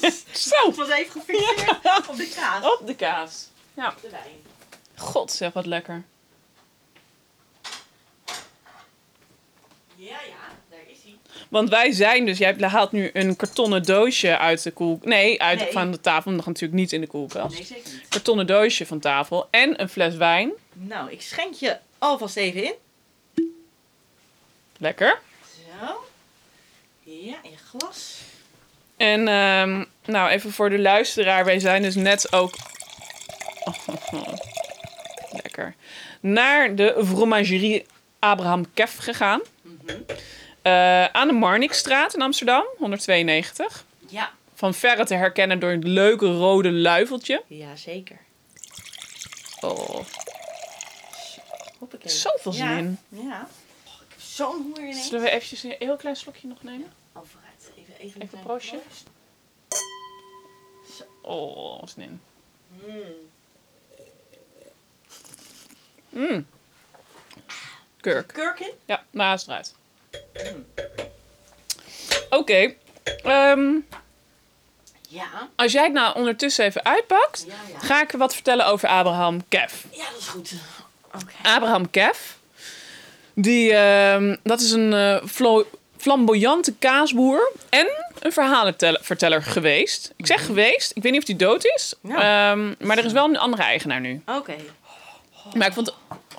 [SPEAKER 4] Zo,
[SPEAKER 3] was even gefixeerd op de kaas.
[SPEAKER 4] op de kaas. Ja.
[SPEAKER 3] De wijn.
[SPEAKER 4] God, zeg wat lekker.
[SPEAKER 3] Ja, ja, daar is hij.
[SPEAKER 4] Want wij zijn dus, jij haalt nu een kartonnen doosje uit de koel... Nee, uit,
[SPEAKER 3] Nee.
[SPEAKER 4] van de tafel, want dat gaat natuurlijk niet in de koelkast.
[SPEAKER 3] zeker niet.
[SPEAKER 4] Kartonnen doosje van tafel en een fles wijn.
[SPEAKER 3] Nou, ik schenk je alvast even in.
[SPEAKER 4] Lekker.
[SPEAKER 3] Zo. Ja, in glas.
[SPEAKER 4] En ehm, nou, even voor de luisteraar. Wij zijn dus net ook... lekker. Naar de fromagerie Abraham Kef gegaan. Eh, aan de Marnixstraat in Amsterdam, 192.
[SPEAKER 3] Ja.
[SPEAKER 4] Van verre te herkennen door een leuke rode luifeltje.
[SPEAKER 3] Ja, zeker.
[SPEAKER 4] Oh,
[SPEAKER 3] Hoppakee.
[SPEAKER 4] zoveel zin
[SPEAKER 3] ja.
[SPEAKER 4] in.
[SPEAKER 3] Ja. Oh, ik heb zo'n hoer ineens.
[SPEAKER 4] Zullen we eventjes een heel klein slokje nog nemen?
[SPEAKER 3] Oh, vooruit. Even, even,
[SPEAKER 4] Even
[SPEAKER 3] klein
[SPEAKER 4] proostje.
[SPEAKER 3] proost.
[SPEAKER 4] Oh, wat zin in.
[SPEAKER 3] Mm.
[SPEAKER 4] Mm. Kurk.
[SPEAKER 3] Kurk in?
[SPEAKER 4] Ja, naast eruit. Mm. Oké. ehm,
[SPEAKER 3] Ja.
[SPEAKER 4] als jij het nou ondertussen even uitpakt,
[SPEAKER 3] Ja, ja.
[SPEAKER 4] ga ik wat vertellen over Abraham Kef.
[SPEAKER 3] Ja, dat is goed. Oké.
[SPEAKER 4] Abraham Kef, die, ehm, dat is een eh, flo- flamboyante kaasboer en een verhalenverteller geweest. Ik zeg geweest, ik weet niet of hij dood is,
[SPEAKER 3] Ja.
[SPEAKER 4] ehm, maar er is wel een andere eigenaar nu.
[SPEAKER 3] Oké.
[SPEAKER 4] Maar ik vond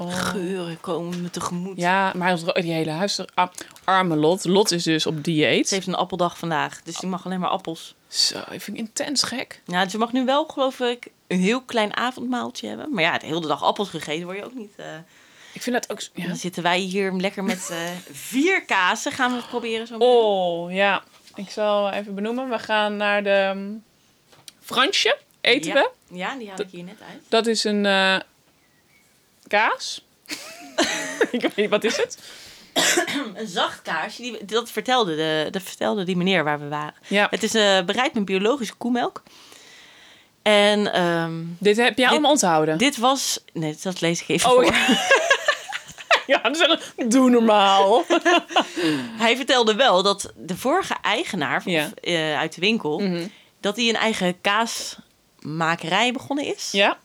[SPEAKER 3] Geuren komen me tegemoet.
[SPEAKER 4] Ja, maar hij was er ook- die hele huis... ah, arme Lot. Lot is dus op dieet.
[SPEAKER 3] Ze heeft een appeldag vandaag, dus die mag alleen maar appels.
[SPEAKER 4] Zo, ik vind het intens gek.
[SPEAKER 3] Ja, ze mag nu wel, geloof ik, een heel klein avondmaaltje hebben. Maar ja, de hele dag appels gegeten word je ook niet. eh.
[SPEAKER 4] Ik vind dat ook... zo- Ja.
[SPEAKER 3] Dan zitten wij hier lekker met eh, vier kazen. Gaan we het proberen zo meteen.
[SPEAKER 4] Oh, ja. Ik zal even benoemen. We gaan naar de ehm, Fransje
[SPEAKER 3] ja.
[SPEAKER 4] eten we.
[SPEAKER 3] Ja, die haal ik hier net uit.
[SPEAKER 4] Dat is een eh, kaas. ik weet niet, wat is het?
[SPEAKER 3] Een zacht kaasje, die, dat, vertelde de, dat vertelde die meneer waar we waren.
[SPEAKER 4] Ja.
[SPEAKER 3] Het is eh, bereid met biologische koemelk. En ehm,
[SPEAKER 4] Dit heb jij
[SPEAKER 3] Dit-
[SPEAKER 4] allemaal onthouden.
[SPEAKER 3] dit was... Nee, dat lees ik even
[SPEAKER 4] Oh,
[SPEAKER 3] voor.
[SPEAKER 4] ja, dan zeggen doe normaal.
[SPEAKER 3] Hij vertelde wel dat de vorige eigenaar van-
[SPEAKER 4] Ja.
[SPEAKER 3] eh, uit de winkel...
[SPEAKER 4] Mhm.
[SPEAKER 3] dat hij een eigen kaasmakerij begonnen is.
[SPEAKER 4] ja.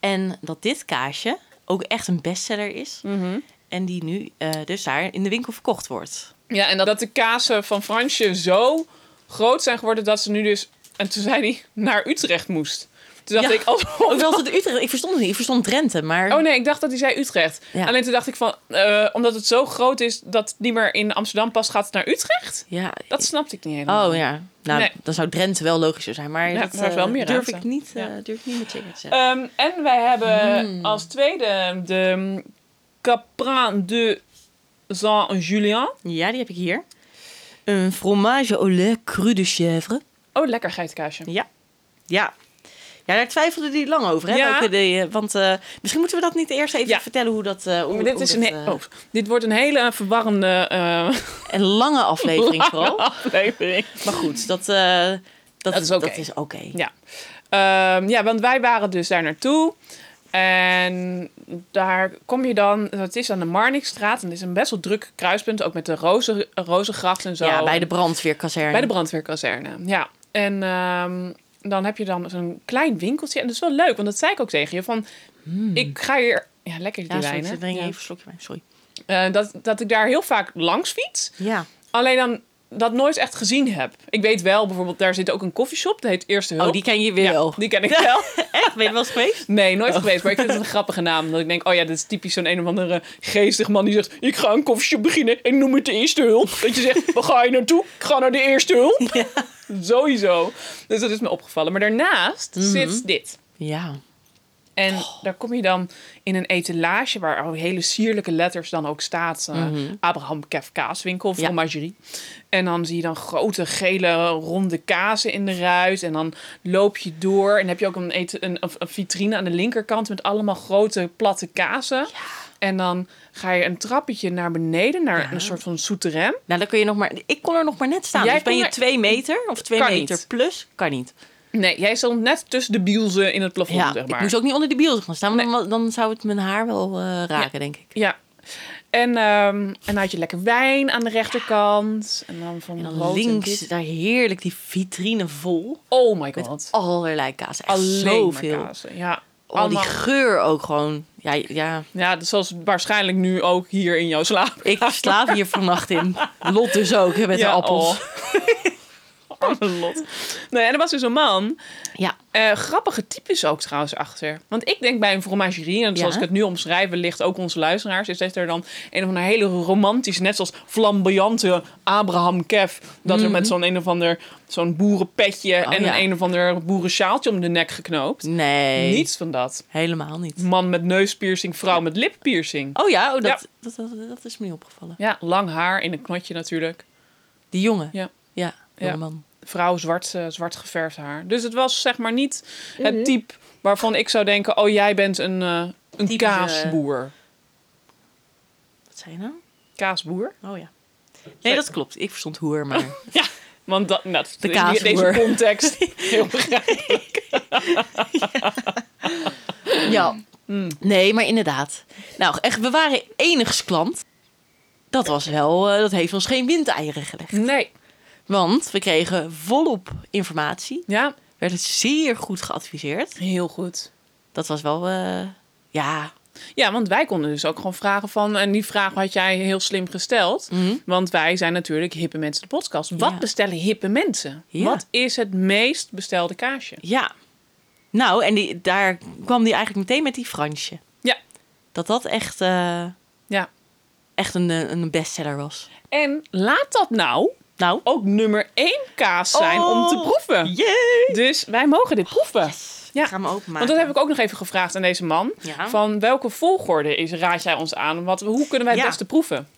[SPEAKER 3] En dat dit kaasje ook echt een bestseller is.
[SPEAKER 4] Mhm.
[SPEAKER 3] En die nu eh, dus daar in de winkel verkocht wordt.
[SPEAKER 4] Ja, en dat, dat de kazen van Fransje zo groot zijn geworden dat ze nu dus. En toen zei hij naar Utrecht moest. Toen dacht
[SPEAKER 3] Ja.
[SPEAKER 4] ik, oh,
[SPEAKER 3] Ook wel het Utrecht. Ik verstond het niet. Ik verstond Drenthe, maar...
[SPEAKER 4] oh nee, ik dacht dat hij zei Utrecht.
[SPEAKER 3] Ja.
[SPEAKER 4] Alleen toen dacht ik van, eh, omdat het zo groot is dat het niet meer in Amsterdam past, gaat het naar Utrecht?
[SPEAKER 3] Ja.
[SPEAKER 4] Dat snapte ik niet helemaal.
[SPEAKER 3] Oh ja. Nou,
[SPEAKER 4] Nee.
[SPEAKER 3] dan zou Drenthe wel logischer zijn. Maar
[SPEAKER 4] Ja,
[SPEAKER 3] dat
[SPEAKER 4] daar is
[SPEAKER 3] eh,
[SPEAKER 4] wel meer
[SPEAKER 3] durf,
[SPEAKER 4] ruimte.
[SPEAKER 3] ik niet, eh,
[SPEAKER 4] Ja.
[SPEAKER 3] durf ik niet met zekerheid te zeggen.
[SPEAKER 4] Ehm, en wij hebben als tweede de Caprin de Saint-Julien.
[SPEAKER 3] Ja, die heb ik hier. Een fromage au lait cru de chèvre.
[SPEAKER 4] Oh, lekker geitenkaasje.
[SPEAKER 3] Ja. Ja. Ja, daar twijfelde hij lang over. Hè?
[SPEAKER 4] Ja.
[SPEAKER 3] Welke die, eh, want eh, misschien moeten we dat niet eerst even
[SPEAKER 4] Ja.
[SPEAKER 3] vertellen hoe dat... eh, hoe,
[SPEAKER 4] Maar dit,
[SPEAKER 3] hoe
[SPEAKER 4] is een,
[SPEAKER 3] dat,
[SPEAKER 4] he-
[SPEAKER 3] eh,
[SPEAKER 4] oh, dit wordt een hele verwarrende eh,
[SPEAKER 3] Een lange aflevering vooral.
[SPEAKER 4] aflevering.
[SPEAKER 3] Maar goed, dat, eh, dat,
[SPEAKER 4] Dat is oké.
[SPEAKER 3] dat is oké.
[SPEAKER 4] Ja. Ehm, ja, want wij waren dus daar naartoe. En daar kom je dan, het is aan de Marnixstraat. En het is een best wel druk kruispunt, ook met de rozen, Rozengracht en zo.
[SPEAKER 3] Ja, bij de brandweerkazerne.
[SPEAKER 4] Bij de brandweerkazerne, ja. En ehm, dan heb je dan zo'n klein winkeltje. En dat is wel leuk, want dat zei ik ook tegen je. Van, ik ga hier... Ja, lekker die
[SPEAKER 3] Hmm. ja, sorry, ik
[SPEAKER 4] wijn, hè?
[SPEAKER 3] drink
[SPEAKER 4] Ja.
[SPEAKER 3] even een slokje wijn. Sorry.
[SPEAKER 4] Eh, dat, dat ik daar heel vaak langs fiets.
[SPEAKER 3] Ja.
[SPEAKER 4] Alleen dan dat nooit echt gezien heb. Ik weet wel, bijvoorbeeld, daar zit ook een koffieshop. Dat heet Eerste Hulp.
[SPEAKER 3] Oh, die ken je weer wel.
[SPEAKER 4] die ken ik wel.
[SPEAKER 3] Echt? Ben je wel eens geweest?
[SPEAKER 4] Nee, nooit geweest. Maar ik vind het een grappige naam. Dat ik denk, oh ja, dit is typisch zo'n een of andere geestig man die zegt... ik ga een koffieshop beginnen en noem het de eerste hulp. Dat je zegt, waar ga je naartoe? Ik ga naar de eerste hulp. Sowieso. Dus dat is me opgevallen. Maar daarnaast zit dit.
[SPEAKER 3] Ja.
[SPEAKER 4] En
[SPEAKER 3] Oh.
[SPEAKER 4] daar kom je dan in een etalage waar al hele sierlijke letters dan ook staat. eh, Abraham Kef kaaswinkel,
[SPEAKER 3] Mhm. Ja.
[SPEAKER 4] fromagerie. En dan zie je dan grote gele ronde kazen in de ruit. En dan loop je door en heb je ook een, ete- een, een- een vitrine aan de linkerkant met allemaal grote platte kazen. En dan ga je een trappetje naar beneden, naar een soort van souterrain.
[SPEAKER 3] Nou, dan kun je nog maar... Ik kon er nog maar net staan.
[SPEAKER 4] Jij
[SPEAKER 3] dus ben
[SPEAKER 4] kon
[SPEAKER 3] je
[SPEAKER 4] er-
[SPEAKER 3] twee meter of twee
[SPEAKER 4] Kan
[SPEAKER 3] meter
[SPEAKER 4] niet.
[SPEAKER 3] plus? Kan niet.
[SPEAKER 4] Nee, jij stond net tussen de bielzen in het plafond,
[SPEAKER 3] Ja,
[SPEAKER 4] zeg
[SPEAKER 3] ik
[SPEAKER 4] maar.
[SPEAKER 3] moest ook niet onder de biel gaan staan. want Dan, dan zou het mijn haar wel eh, raken, denk ik.
[SPEAKER 4] Ja. En, ehm, en dan had je lekker wijn aan de rechterkant. En dan van
[SPEAKER 3] En dan
[SPEAKER 4] rood en
[SPEAKER 3] links,
[SPEAKER 4] wit.
[SPEAKER 3] daar heerlijk die vitrine vol.
[SPEAKER 4] Oh my
[SPEAKER 3] Met
[SPEAKER 4] god.
[SPEAKER 3] allerlei kaas. Echt
[SPEAKER 4] Alleen maar
[SPEAKER 3] zoveel.
[SPEAKER 4] kazen. Ja.
[SPEAKER 3] Al die
[SPEAKER 4] allemaal.
[SPEAKER 3] geur ook gewoon. Ja, ja.
[SPEAKER 4] Ja, dus zoals waarschijnlijk nu ook hier in jouw slaap.
[SPEAKER 3] ik slaap hier vannacht in. Lot dus ook, hè, met
[SPEAKER 4] Ja,
[SPEAKER 3] de appels.
[SPEAKER 4] oh. Arme lot. Nee, en er was dus een man.
[SPEAKER 3] Ja.
[SPEAKER 4] eh, grappige types ook trouwens achter. Want ik denk bij een fromagerie, en zoals
[SPEAKER 3] Ja.
[SPEAKER 4] ik het nu omschrijf, wellicht ook onze luisteraars, is dat er dan een of andere hele romantische, net zoals flamboyante Abraham Kev, dat er met zo'n een of ander, zo'n boerenpetje en
[SPEAKER 3] Mhm. Oh, ja.
[SPEAKER 4] een een of ander boerensjaaltje om de nek geknoopt.
[SPEAKER 3] Nee, Mm.
[SPEAKER 4] Niets van dat.
[SPEAKER 3] helemaal niet.
[SPEAKER 4] Man met neuspiercing, vrouw met lippiercing.
[SPEAKER 3] Oh ja, oh, dat,
[SPEAKER 4] Ja.
[SPEAKER 3] Dat, dat, dat is me niet opgevallen.
[SPEAKER 4] Ja, lang haar in een knotje natuurlijk.
[SPEAKER 3] Die jongen.
[SPEAKER 4] Ja.
[SPEAKER 3] Ja, jonge
[SPEAKER 4] Ja.
[SPEAKER 3] man.
[SPEAKER 4] vrouw zwart, eh, zwart geverfd haar. Dus het was zeg maar niet
[SPEAKER 3] Mhm.
[SPEAKER 4] het type waarvan ik zou denken: oh, jij bent een, eh, een
[SPEAKER 3] Typische-
[SPEAKER 4] kaasboer.
[SPEAKER 3] Wat zei je nou?
[SPEAKER 4] Kaasboer?
[SPEAKER 3] Oh ja. Nee, dat klopt. Ik verstond hoer, maar...
[SPEAKER 4] Ja, want dat, nou, dat
[SPEAKER 3] De
[SPEAKER 4] is die-
[SPEAKER 3] kaasboer.
[SPEAKER 4] deze context heel begrijpelijk.
[SPEAKER 3] ja. Mm. Nee, maar inderdaad. Nou, echt, we waren enigs klant. Dat was wel... eh, dat heeft ons geen windeieren gelegd.
[SPEAKER 4] Nee.
[SPEAKER 3] Want we kregen volop informatie.
[SPEAKER 4] Ja,
[SPEAKER 3] Werd het zeer goed geadviseerd.
[SPEAKER 4] heel goed.
[SPEAKER 3] Dat was wel... eh, ja,
[SPEAKER 4] Ja, want wij konden dus ook gewoon vragen van... en die vraag had jij heel slim gesteld. Want wij zijn natuurlijk hippe mensen de podcast. Wat
[SPEAKER 3] Ja.
[SPEAKER 4] bestellen hippe mensen?
[SPEAKER 3] Ja.
[SPEAKER 4] Wat is het meest bestelde kaasje?
[SPEAKER 3] Ja. Nou, en die, daar kwam die eigenlijk meteen met die Fransje.
[SPEAKER 4] Ja,
[SPEAKER 3] Dat dat echt, eh,
[SPEAKER 4] ja.
[SPEAKER 3] echt een, eh, een bestseller was.
[SPEAKER 4] En laat dat nou
[SPEAKER 3] Nou.
[SPEAKER 4] ook nummer één kaas zijn om te
[SPEAKER 3] Oh,
[SPEAKER 4] proeven.
[SPEAKER 3] Yay!
[SPEAKER 4] Dus wij mogen dit proeven.
[SPEAKER 3] Ja.
[SPEAKER 4] Ja.
[SPEAKER 3] Ik ga hem openmaken.
[SPEAKER 4] Want dat heb ik ook nog even gevraagd aan deze man.
[SPEAKER 3] Ja.
[SPEAKER 4] Van welke volgorde is, raad jij ons aan? Wat, hoe kunnen wij het
[SPEAKER 3] Ja.
[SPEAKER 4] beste proeven?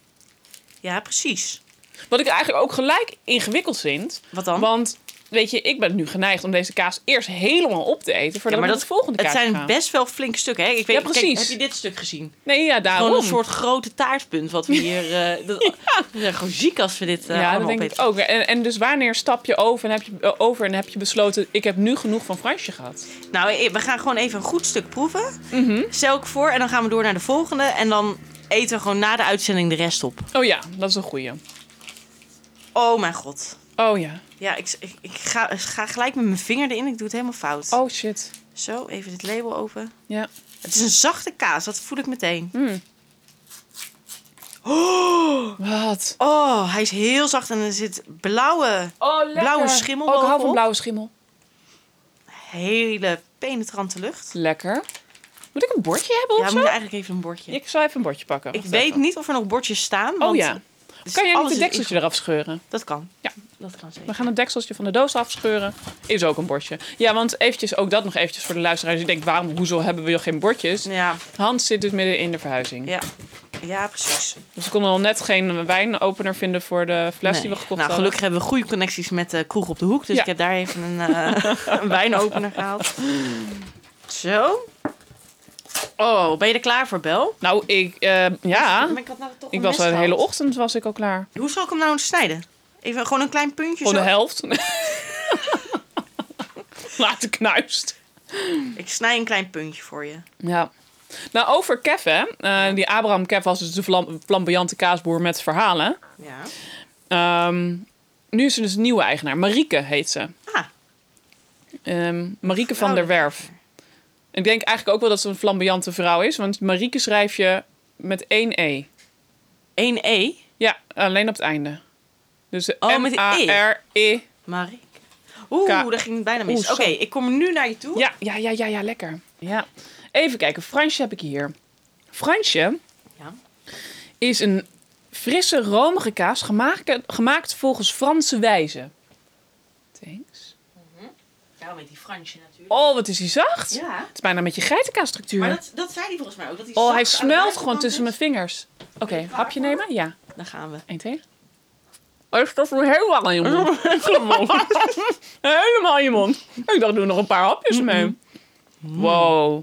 [SPEAKER 3] Ja, precies.
[SPEAKER 4] Wat ik eigenlijk ook gelijk ingewikkeld vind.
[SPEAKER 3] Wat dan?
[SPEAKER 4] Want, weet je, ik ben nu geneigd om deze kaas eerst helemaal op te eten... voordat we naar de volgende
[SPEAKER 3] het
[SPEAKER 4] kaas
[SPEAKER 3] zijn
[SPEAKER 4] gaan.
[SPEAKER 3] best wel flinke stukken. Hè? Ik weet,
[SPEAKER 4] Ja, precies.
[SPEAKER 3] Kijk, heb je dit stuk gezien?
[SPEAKER 4] Nee, ja, daarom.
[SPEAKER 3] Gewoon een soort grote taartpunt wat we hier... eh, dat, We zijn gewoon ziek als we dit eh,
[SPEAKER 4] ja, dat
[SPEAKER 3] allemaal
[SPEAKER 4] denk
[SPEAKER 3] opeten.
[SPEAKER 4] ik ook. En, en dus wanneer stap je over en, heb je, eh, over en heb je besloten... ik heb nu genoeg van Fransje gehad?
[SPEAKER 3] Nou, eh, we gaan gewoon even een goed stuk proeven.
[SPEAKER 4] Mhm.
[SPEAKER 3] Stel ik voor en dan gaan we door naar de volgende. En dan eten we gewoon na de uitzending de rest op.
[SPEAKER 4] Oh ja, dat is een goeie.
[SPEAKER 3] Oh mijn god.
[SPEAKER 4] Oh ja.
[SPEAKER 3] Ja, ik, ik, ik ga, ik ga gelijk met mijn vinger erin. Ik doe het helemaal fout.
[SPEAKER 4] Oh shit.
[SPEAKER 3] Zo, even dit label open.
[SPEAKER 4] Ja.
[SPEAKER 3] Het is een zachte kaas, dat voel ik meteen.
[SPEAKER 4] Mm. Wat?
[SPEAKER 3] Oh, hij is heel zacht en er zit blauwe,
[SPEAKER 4] Oh, lekker.
[SPEAKER 3] Blauwe schimmel
[SPEAKER 4] Oh, ik hou van
[SPEAKER 3] bovenop.
[SPEAKER 4] blauwe schimmel.
[SPEAKER 3] hele penetrante lucht.
[SPEAKER 4] Lekker. Moet ik een bordje hebben
[SPEAKER 3] Ja,
[SPEAKER 4] of
[SPEAKER 3] we
[SPEAKER 4] zo?
[SPEAKER 3] moeten eigenlijk even een bordje. Ik,
[SPEAKER 4] Ik zal even een bordje pakken. Wacht
[SPEAKER 3] weet
[SPEAKER 4] even.
[SPEAKER 3] niet of er nog bordjes staan.
[SPEAKER 4] Oh
[SPEAKER 3] want
[SPEAKER 4] ja.
[SPEAKER 3] dus
[SPEAKER 4] Kan jij
[SPEAKER 3] alles
[SPEAKER 4] niet het
[SPEAKER 3] is
[SPEAKER 4] dekseltje eraf scheuren?
[SPEAKER 3] inge- Dat kan.
[SPEAKER 4] Ja.
[SPEAKER 3] Dat kan
[SPEAKER 4] We
[SPEAKER 3] zeker.
[SPEAKER 4] gaan het dekseltje van de doos afscheuren. Is ook een bordje. Ja, want eventjes, ook dat nog eventjes voor de luisteraars. Ik denk, waarom, hoezo hebben we geen bordjes?
[SPEAKER 3] Ja,
[SPEAKER 4] Hans zit dus midden in de verhuizing.
[SPEAKER 3] ja. ja precies.
[SPEAKER 4] Dus we konden al net geen wijnopener vinden voor de fles die we
[SPEAKER 3] Nee.
[SPEAKER 4] gekocht
[SPEAKER 3] nou,
[SPEAKER 4] hadden.
[SPEAKER 3] gelukkig hebben we goede connecties met de kroeg op de hoek. Dus
[SPEAKER 4] Ja.
[SPEAKER 3] ik heb daar even een, eh, een wijnopener gehaald. Zo. Oh, ben je er klaar voor, Bel?
[SPEAKER 4] Nou, ik, eh, ja.
[SPEAKER 3] Maar ik had nou toch
[SPEAKER 4] Ik
[SPEAKER 3] een
[SPEAKER 4] was
[SPEAKER 3] mes
[SPEAKER 4] de hele
[SPEAKER 3] gehad.
[SPEAKER 4] ochtend was ik al klaar.
[SPEAKER 3] Hoe zal ik hem nou snijden? Even gewoon een klein puntje
[SPEAKER 4] Voor de
[SPEAKER 3] zo.
[SPEAKER 4] helft. Laat knuist.
[SPEAKER 3] Ik snij een klein puntje voor je.
[SPEAKER 4] Ja. Nou, over Kev, hè. Eh, die Abraham Kev was dus de vlam- flamboyante kaasboer met verhalen.
[SPEAKER 3] Ja.
[SPEAKER 4] Ehm, nu is er dus een nieuwe eigenaar. Marieke heet ze.
[SPEAKER 3] Ah,
[SPEAKER 4] Ehm, Marieke van der Werf. Ik denk eigenlijk ook wel dat ze een flamboyante vrouw is. Want Marieke schrijf je met één E.
[SPEAKER 3] 1E.
[SPEAKER 4] Ja, alleen op het einde. Dus
[SPEAKER 3] Oh, met een E.
[SPEAKER 4] M-A-R-E.
[SPEAKER 3] Marik. Oeh,
[SPEAKER 4] Ka-
[SPEAKER 3] daar ging het bijna mis.
[SPEAKER 4] Oeh,
[SPEAKER 3] Oké,
[SPEAKER 4] sorry.
[SPEAKER 3] ik kom nu naar je toe.
[SPEAKER 4] Ja, ja, ja, ja, ja, lekker. Ja. Even kijken, Fransje heb ik hier. Fransje
[SPEAKER 3] Ja.
[SPEAKER 4] is een frisse, romige kaas gemaakt, gemaakt volgens Franse wijze. Thanks.
[SPEAKER 3] Ja, met die Fransje natuurlijk.
[SPEAKER 4] Oh, wat is die zacht?
[SPEAKER 3] Ja.
[SPEAKER 4] Het is bijna met je geitenkaasstructuur.
[SPEAKER 3] Maar dat, dat zei hij volgens mij ook. Dat hij
[SPEAKER 4] Oh, hij
[SPEAKER 3] zacht aan de
[SPEAKER 4] smelt gewoon
[SPEAKER 3] buitenkant
[SPEAKER 4] tussen mijn
[SPEAKER 3] is.
[SPEAKER 4] vingers. Oké, hapje nemen? Ja.
[SPEAKER 3] Daar gaan we.
[SPEAKER 4] Eén, twee. Oh, dat stof me helemaal in je mond. helemaal in je mond. Ik dacht, doe nog een paar hapjes mee. Mm. Wow.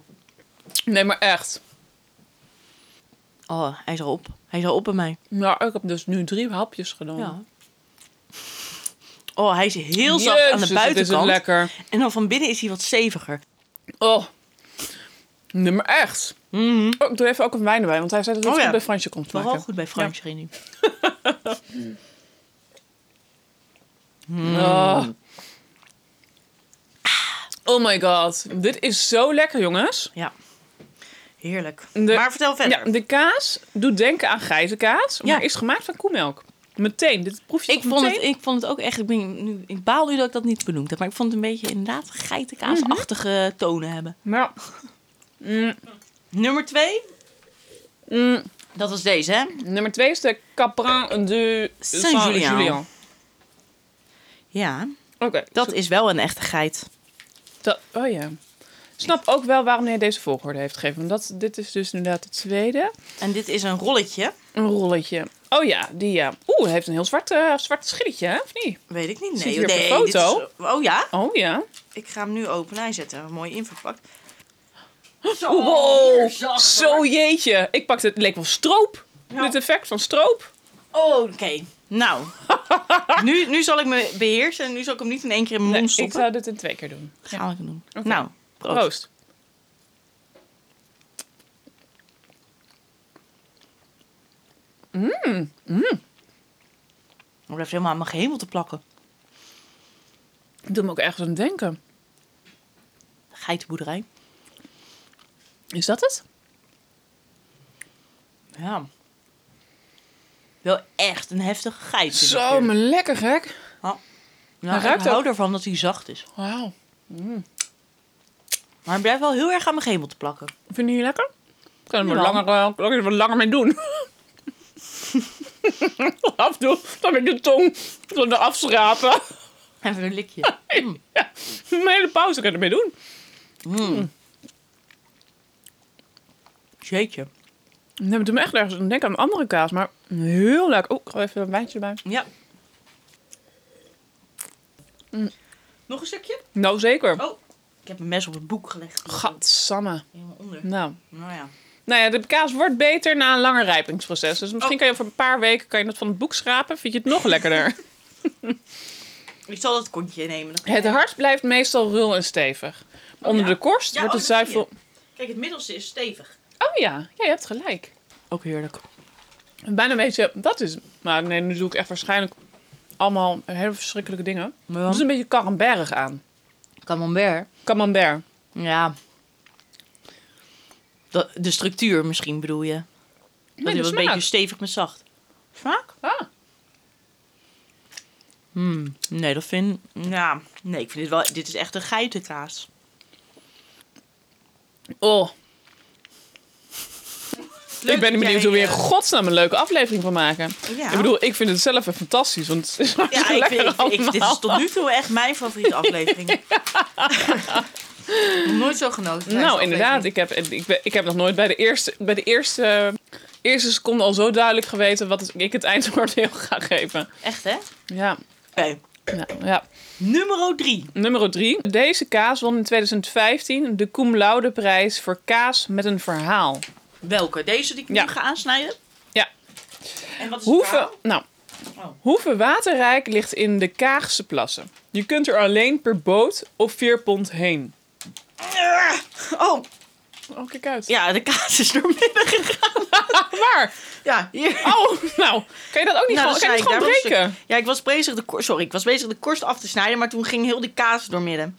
[SPEAKER 4] Nee, maar echt.
[SPEAKER 3] Oh, hij is al op. Hij is al op bij mij.
[SPEAKER 4] Nou, ik heb dus nu drie hapjes gedaan.
[SPEAKER 3] Ja. Oh, hij is heel zacht aan
[SPEAKER 4] Jezus,
[SPEAKER 3] de
[SPEAKER 4] wat is het
[SPEAKER 3] buitenkant.
[SPEAKER 4] lekker.
[SPEAKER 3] En dan van binnen is hij wat steviger.
[SPEAKER 4] Oh. Nee, maar echt. Oh, ik doe even ook een wijn erbij, want hij zei dat het
[SPEAKER 3] Oh,
[SPEAKER 4] goed
[SPEAKER 3] ja.
[SPEAKER 4] bij Fransje komt te
[SPEAKER 3] Vooral
[SPEAKER 4] maken.
[SPEAKER 3] goed bij Fransje nu.
[SPEAKER 4] Oh.
[SPEAKER 3] Mm.
[SPEAKER 4] oh my god. Dit is zo lekker, jongens.
[SPEAKER 3] Ja. Heerlijk.
[SPEAKER 4] De-
[SPEAKER 3] Maar vertel verder.
[SPEAKER 4] Ja, de kaas doet denken aan geitenkaas, maar
[SPEAKER 3] Ja.
[SPEAKER 4] is gemaakt van koemelk. Meteen, dit proef je
[SPEAKER 3] ik,
[SPEAKER 4] toch
[SPEAKER 3] vond het,
[SPEAKER 4] meteen?
[SPEAKER 3] ik vond het ook echt... Ik, ben, nu, ik baal nu dat ik dat niet benoemd heb. Maar ik vond het een beetje inderdaad geitenkaasachtige tonen hebben.
[SPEAKER 4] Nou,
[SPEAKER 3] Nummer twee.
[SPEAKER 4] mm,
[SPEAKER 3] Dat was deze, hè?
[SPEAKER 4] nummer twee is de Caprin de
[SPEAKER 3] Saint-Julien.
[SPEAKER 4] Saint-Julien.
[SPEAKER 3] Ja.
[SPEAKER 4] Oké,
[SPEAKER 3] Dat is wel een echte geit.
[SPEAKER 4] dat- oh ja. Ik snap ook wel waarom hij deze volgorde heeft gegeven. Want dat, dit is dus inderdaad het tweede.
[SPEAKER 3] En dit is een rolletje.
[SPEAKER 4] Een rolletje. Oh ja, die ja. Oeh, hij heeft een heel zwart, eh, zwart schilletje, hè? Of niet?
[SPEAKER 3] Weet ik niet.
[SPEAKER 4] Zit
[SPEAKER 3] Nee,
[SPEAKER 4] hier op
[SPEAKER 3] nee,
[SPEAKER 4] de foto?
[SPEAKER 3] dit is- oh ja?
[SPEAKER 4] Oh ja.
[SPEAKER 3] Ik ga hem nu open. Hij zet er mooi in verpakt.
[SPEAKER 4] wow,
[SPEAKER 3] zacht,
[SPEAKER 4] zo jeetje. Ik pakte het, leek wel stroop. Dit effect van stroop.
[SPEAKER 3] Oh, oké. Nou. nu, nu zal ik me beheersen. En nu zal ik hem niet in één keer in mijn
[SPEAKER 4] Nee,
[SPEAKER 3] mond
[SPEAKER 4] ik
[SPEAKER 3] stoppen.
[SPEAKER 4] zou dit in twee keer doen.
[SPEAKER 3] Gaan we het doen.
[SPEAKER 4] Oké.
[SPEAKER 3] Nou, proost.
[SPEAKER 4] Proost.
[SPEAKER 3] Hij blijft helemaal aan mijn gehemel te plakken.
[SPEAKER 4] Ik doe me ook ergens aan denken.
[SPEAKER 3] Geitenboerderij.
[SPEAKER 4] Is dat het?
[SPEAKER 3] Ja. Wel echt een heftige geit. vind ik
[SPEAKER 4] Zo,
[SPEAKER 3] hier.
[SPEAKER 4] maar lekker gek.
[SPEAKER 3] nou,
[SPEAKER 4] hij ruikt
[SPEAKER 3] ik hou
[SPEAKER 4] ook-
[SPEAKER 3] ervan dat hij zacht is.
[SPEAKER 4] Wauw.
[SPEAKER 3] Maar hij blijft wel heel erg aan mijn gehemel te plakken.
[SPEAKER 4] Vind je die lekker? Ik kan er
[SPEAKER 3] Jawel.
[SPEAKER 4] langer, eh, kan ik er wat langer mee doen. Afdoen, dan met de tong zo naar afschrapen.
[SPEAKER 3] Even een likje.
[SPEAKER 4] ja, een hele pauze kan je ermee doen.
[SPEAKER 3] Mm.
[SPEAKER 4] Mm.
[SPEAKER 3] Jeetje.
[SPEAKER 4] Nee, maar doe me echt ergens aan denken aan een andere kaas, maar heel lekker. Oeh, ik ga even een wijntje erbij.
[SPEAKER 3] Ja.
[SPEAKER 4] Mm.
[SPEAKER 3] Nog een stukje?
[SPEAKER 4] Nou, zeker.
[SPEAKER 3] Oh. Ik heb een mes op het boek gelegd.
[SPEAKER 4] Gadsamme.
[SPEAKER 3] Helemaal onder.
[SPEAKER 4] Nou.
[SPEAKER 3] Nou ja.
[SPEAKER 4] Nou ja, de kaas wordt beter na een langer rijpingsproces. Dus misschien kan je over een paar weken kan je dat van het boek schrapen. Vind je het nog lekkerder?
[SPEAKER 3] Ik zal dat kontje nemen. Dan-
[SPEAKER 4] Het hart blijft meestal rul en stevig. Onder
[SPEAKER 3] ja.
[SPEAKER 4] de korst
[SPEAKER 3] Ja,
[SPEAKER 4] wordt
[SPEAKER 3] oh,
[SPEAKER 4] het
[SPEAKER 3] dat zie
[SPEAKER 4] zuivel...
[SPEAKER 3] Kijk, het middelste is stevig.
[SPEAKER 4] Oh ja. ja, je hebt gelijk.
[SPEAKER 3] Ook heerlijk.
[SPEAKER 4] Bijna een beetje... Dat is... Maar nee, nu doe ik echt waarschijnlijk allemaal hele verschrikkelijke dingen.
[SPEAKER 3] Ja.
[SPEAKER 4] Dat is Dus een beetje karamberg aan.
[SPEAKER 3] Camembert.
[SPEAKER 4] Camembert.
[SPEAKER 3] Ja. De, de structuur misschien bedoel je.
[SPEAKER 4] Nee,
[SPEAKER 3] dat
[SPEAKER 4] de
[SPEAKER 3] is wel een
[SPEAKER 4] smaak.
[SPEAKER 3] beetje stevig met zacht. Smaak?
[SPEAKER 4] Ah,
[SPEAKER 3] Hmm, nee, dat vind Ja, nee, ik vind dit wel... Dit is echt een geitenkaas.
[SPEAKER 4] Oh,
[SPEAKER 3] Leuk
[SPEAKER 4] ik ben
[SPEAKER 3] dat
[SPEAKER 4] benieuwd
[SPEAKER 3] jij,
[SPEAKER 4] hoe we in
[SPEAKER 3] eh,
[SPEAKER 4] godsnaam een leuke aflevering van maken.
[SPEAKER 3] Ja.
[SPEAKER 4] Ik bedoel, ik vind het zelf echt fantastisch, want het is
[SPEAKER 3] Ja,
[SPEAKER 4] hartstikke
[SPEAKER 3] ik
[SPEAKER 4] lekker
[SPEAKER 3] vind, ik, ik- dit is
[SPEAKER 4] allemaal.
[SPEAKER 3] tot nu toe echt mijn favoriete aflevering. Nog Nooit zo genoten. tijdens
[SPEAKER 4] Nou,
[SPEAKER 3] de
[SPEAKER 4] inderdaad.
[SPEAKER 3] aflevering.
[SPEAKER 4] Ik heb, ik, ben- ik heb nog nooit bij de eerste, bij de eerste, eerste seconde al zo duidelijk geweten wat het- ik het eindoordeel ga geven.
[SPEAKER 3] Echt, hè? Oké.
[SPEAKER 4] Ja, ja, ja.
[SPEAKER 3] Nummer drie.
[SPEAKER 4] Nummer drie. Deze kaas won in 2015 de Cum Laude prijs voor kaas met een verhaal.
[SPEAKER 3] Welke? Deze die ik nu
[SPEAKER 4] Ja.
[SPEAKER 3] ga aansnijden?
[SPEAKER 4] Ja.
[SPEAKER 3] En wat is het
[SPEAKER 4] Hoeveel,
[SPEAKER 3] verhaal?
[SPEAKER 4] nou,
[SPEAKER 3] Oh.
[SPEAKER 4] hoeveel waterrijk ligt in de Kaagse plassen? Je kunt er alleen per boot of vier pond heen.
[SPEAKER 3] Oh,
[SPEAKER 4] Oh, kijk uit.
[SPEAKER 3] ja, de kaas is door midden gegaan.
[SPEAKER 4] Waar?
[SPEAKER 3] Ja, hier.
[SPEAKER 4] Oh, nou, kan je dat ook
[SPEAKER 3] Nou,
[SPEAKER 4] niet gewoon,
[SPEAKER 3] dan
[SPEAKER 4] kan je
[SPEAKER 3] snij
[SPEAKER 4] het
[SPEAKER 3] ik daar
[SPEAKER 4] gewoon
[SPEAKER 3] wel een stuk.
[SPEAKER 4] breken?
[SPEAKER 3] Ja, ik was bezig de korst, sorry, ik was bezig de korst af te snijden, maar toen ging heel die kaas doormidden.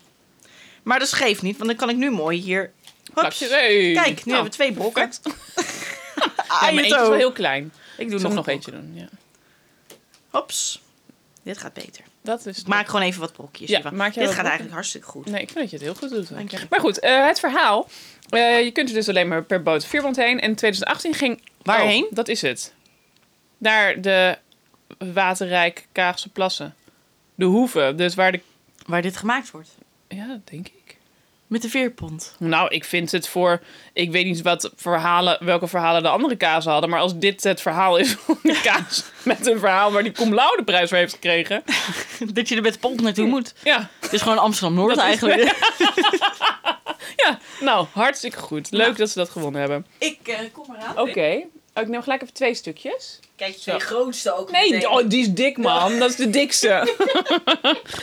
[SPEAKER 3] Maar dat geeft niet, want dan kan ik nu mooi hier. Hups.
[SPEAKER 4] Plakje. Hey.
[SPEAKER 3] Kijk, nu
[SPEAKER 4] Nou,
[SPEAKER 3] hebben we twee brokken.
[SPEAKER 4] perfect.
[SPEAKER 3] Ah,
[SPEAKER 4] Ja, maar
[SPEAKER 3] je
[SPEAKER 4] eentje is
[SPEAKER 3] toe.
[SPEAKER 4] wel heel klein.
[SPEAKER 3] Ik
[SPEAKER 4] Ik
[SPEAKER 3] doe
[SPEAKER 4] zal
[SPEAKER 3] nog,
[SPEAKER 4] nog
[SPEAKER 3] een
[SPEAKER 4] eentje doen. Ja.
[SPEAKER 3] Hops. Dit gaat beter.
[SPEAKER 4] Dat is
[SPEAKER 3] Ik maak gewoon even wat brokjes.
[SPEAKER 4] Ja,
[SPEAKER 3] hiervan.
[SPEAKER 4] maak jij
[SPEAKER 3] Dit gaat
[SPEAKER 4] wat brokjes?
[SPEAKER 3] eigenlijk hartstikke goed.
[SPEAKER 4] Nee, ik vind dat je het heel goed doet.
[SPEAKER 3] Dank je.
[SPEAKER 4] Maar goed, eh, het verhaal. Eh, je kunt er dus alleen maar per boot de Vierwand heen. En in 2018 ging...
[SPEAKER 3] Waarheen?
[SPEAKER 4] Oh, dat is het. Naar de waterrijk Kaagse plassen. De hoeven, dus waar de...
[SPEAKER 3] Waar dit gemaakt wordt.
[SPEAKER 4] Ja, dat denk ik.
[SPEAKER 3] Met de veerpont.
[SPEAKER 4] Nou, ik vind het voor... Ik weet niet wat verhalen, welke verhalen de andere kazen hadden. Maar als dit het verhaal is van de kaas... met een verhaal waar die cum laude prijs voor heeft gekregen.
[SPEAKER 3] Dat je er met de pont naartoe moet.
[SPEAKER 4] Ja,
[SPEAKER 3] Het is gewoon Amsterdam-Noord eigenlijk.
[SPEAKER 4] ja. Nou, hartstikke goed. Leuk dat ze dat gewonnen hebben.
[SPEAKER 3] Ik eh, kom eraan.
[SPEAKER 4] Nou. Oké. Oh, ik neem gelijk even twee stukjes.
[SPEAKER 3] Kijk, je grootste ook.
[SPEAKER 4] Nee,
[SPEAKER 3] meteen.
[SPEAKER 4] oh, die is dik, man. Dat is de dikste.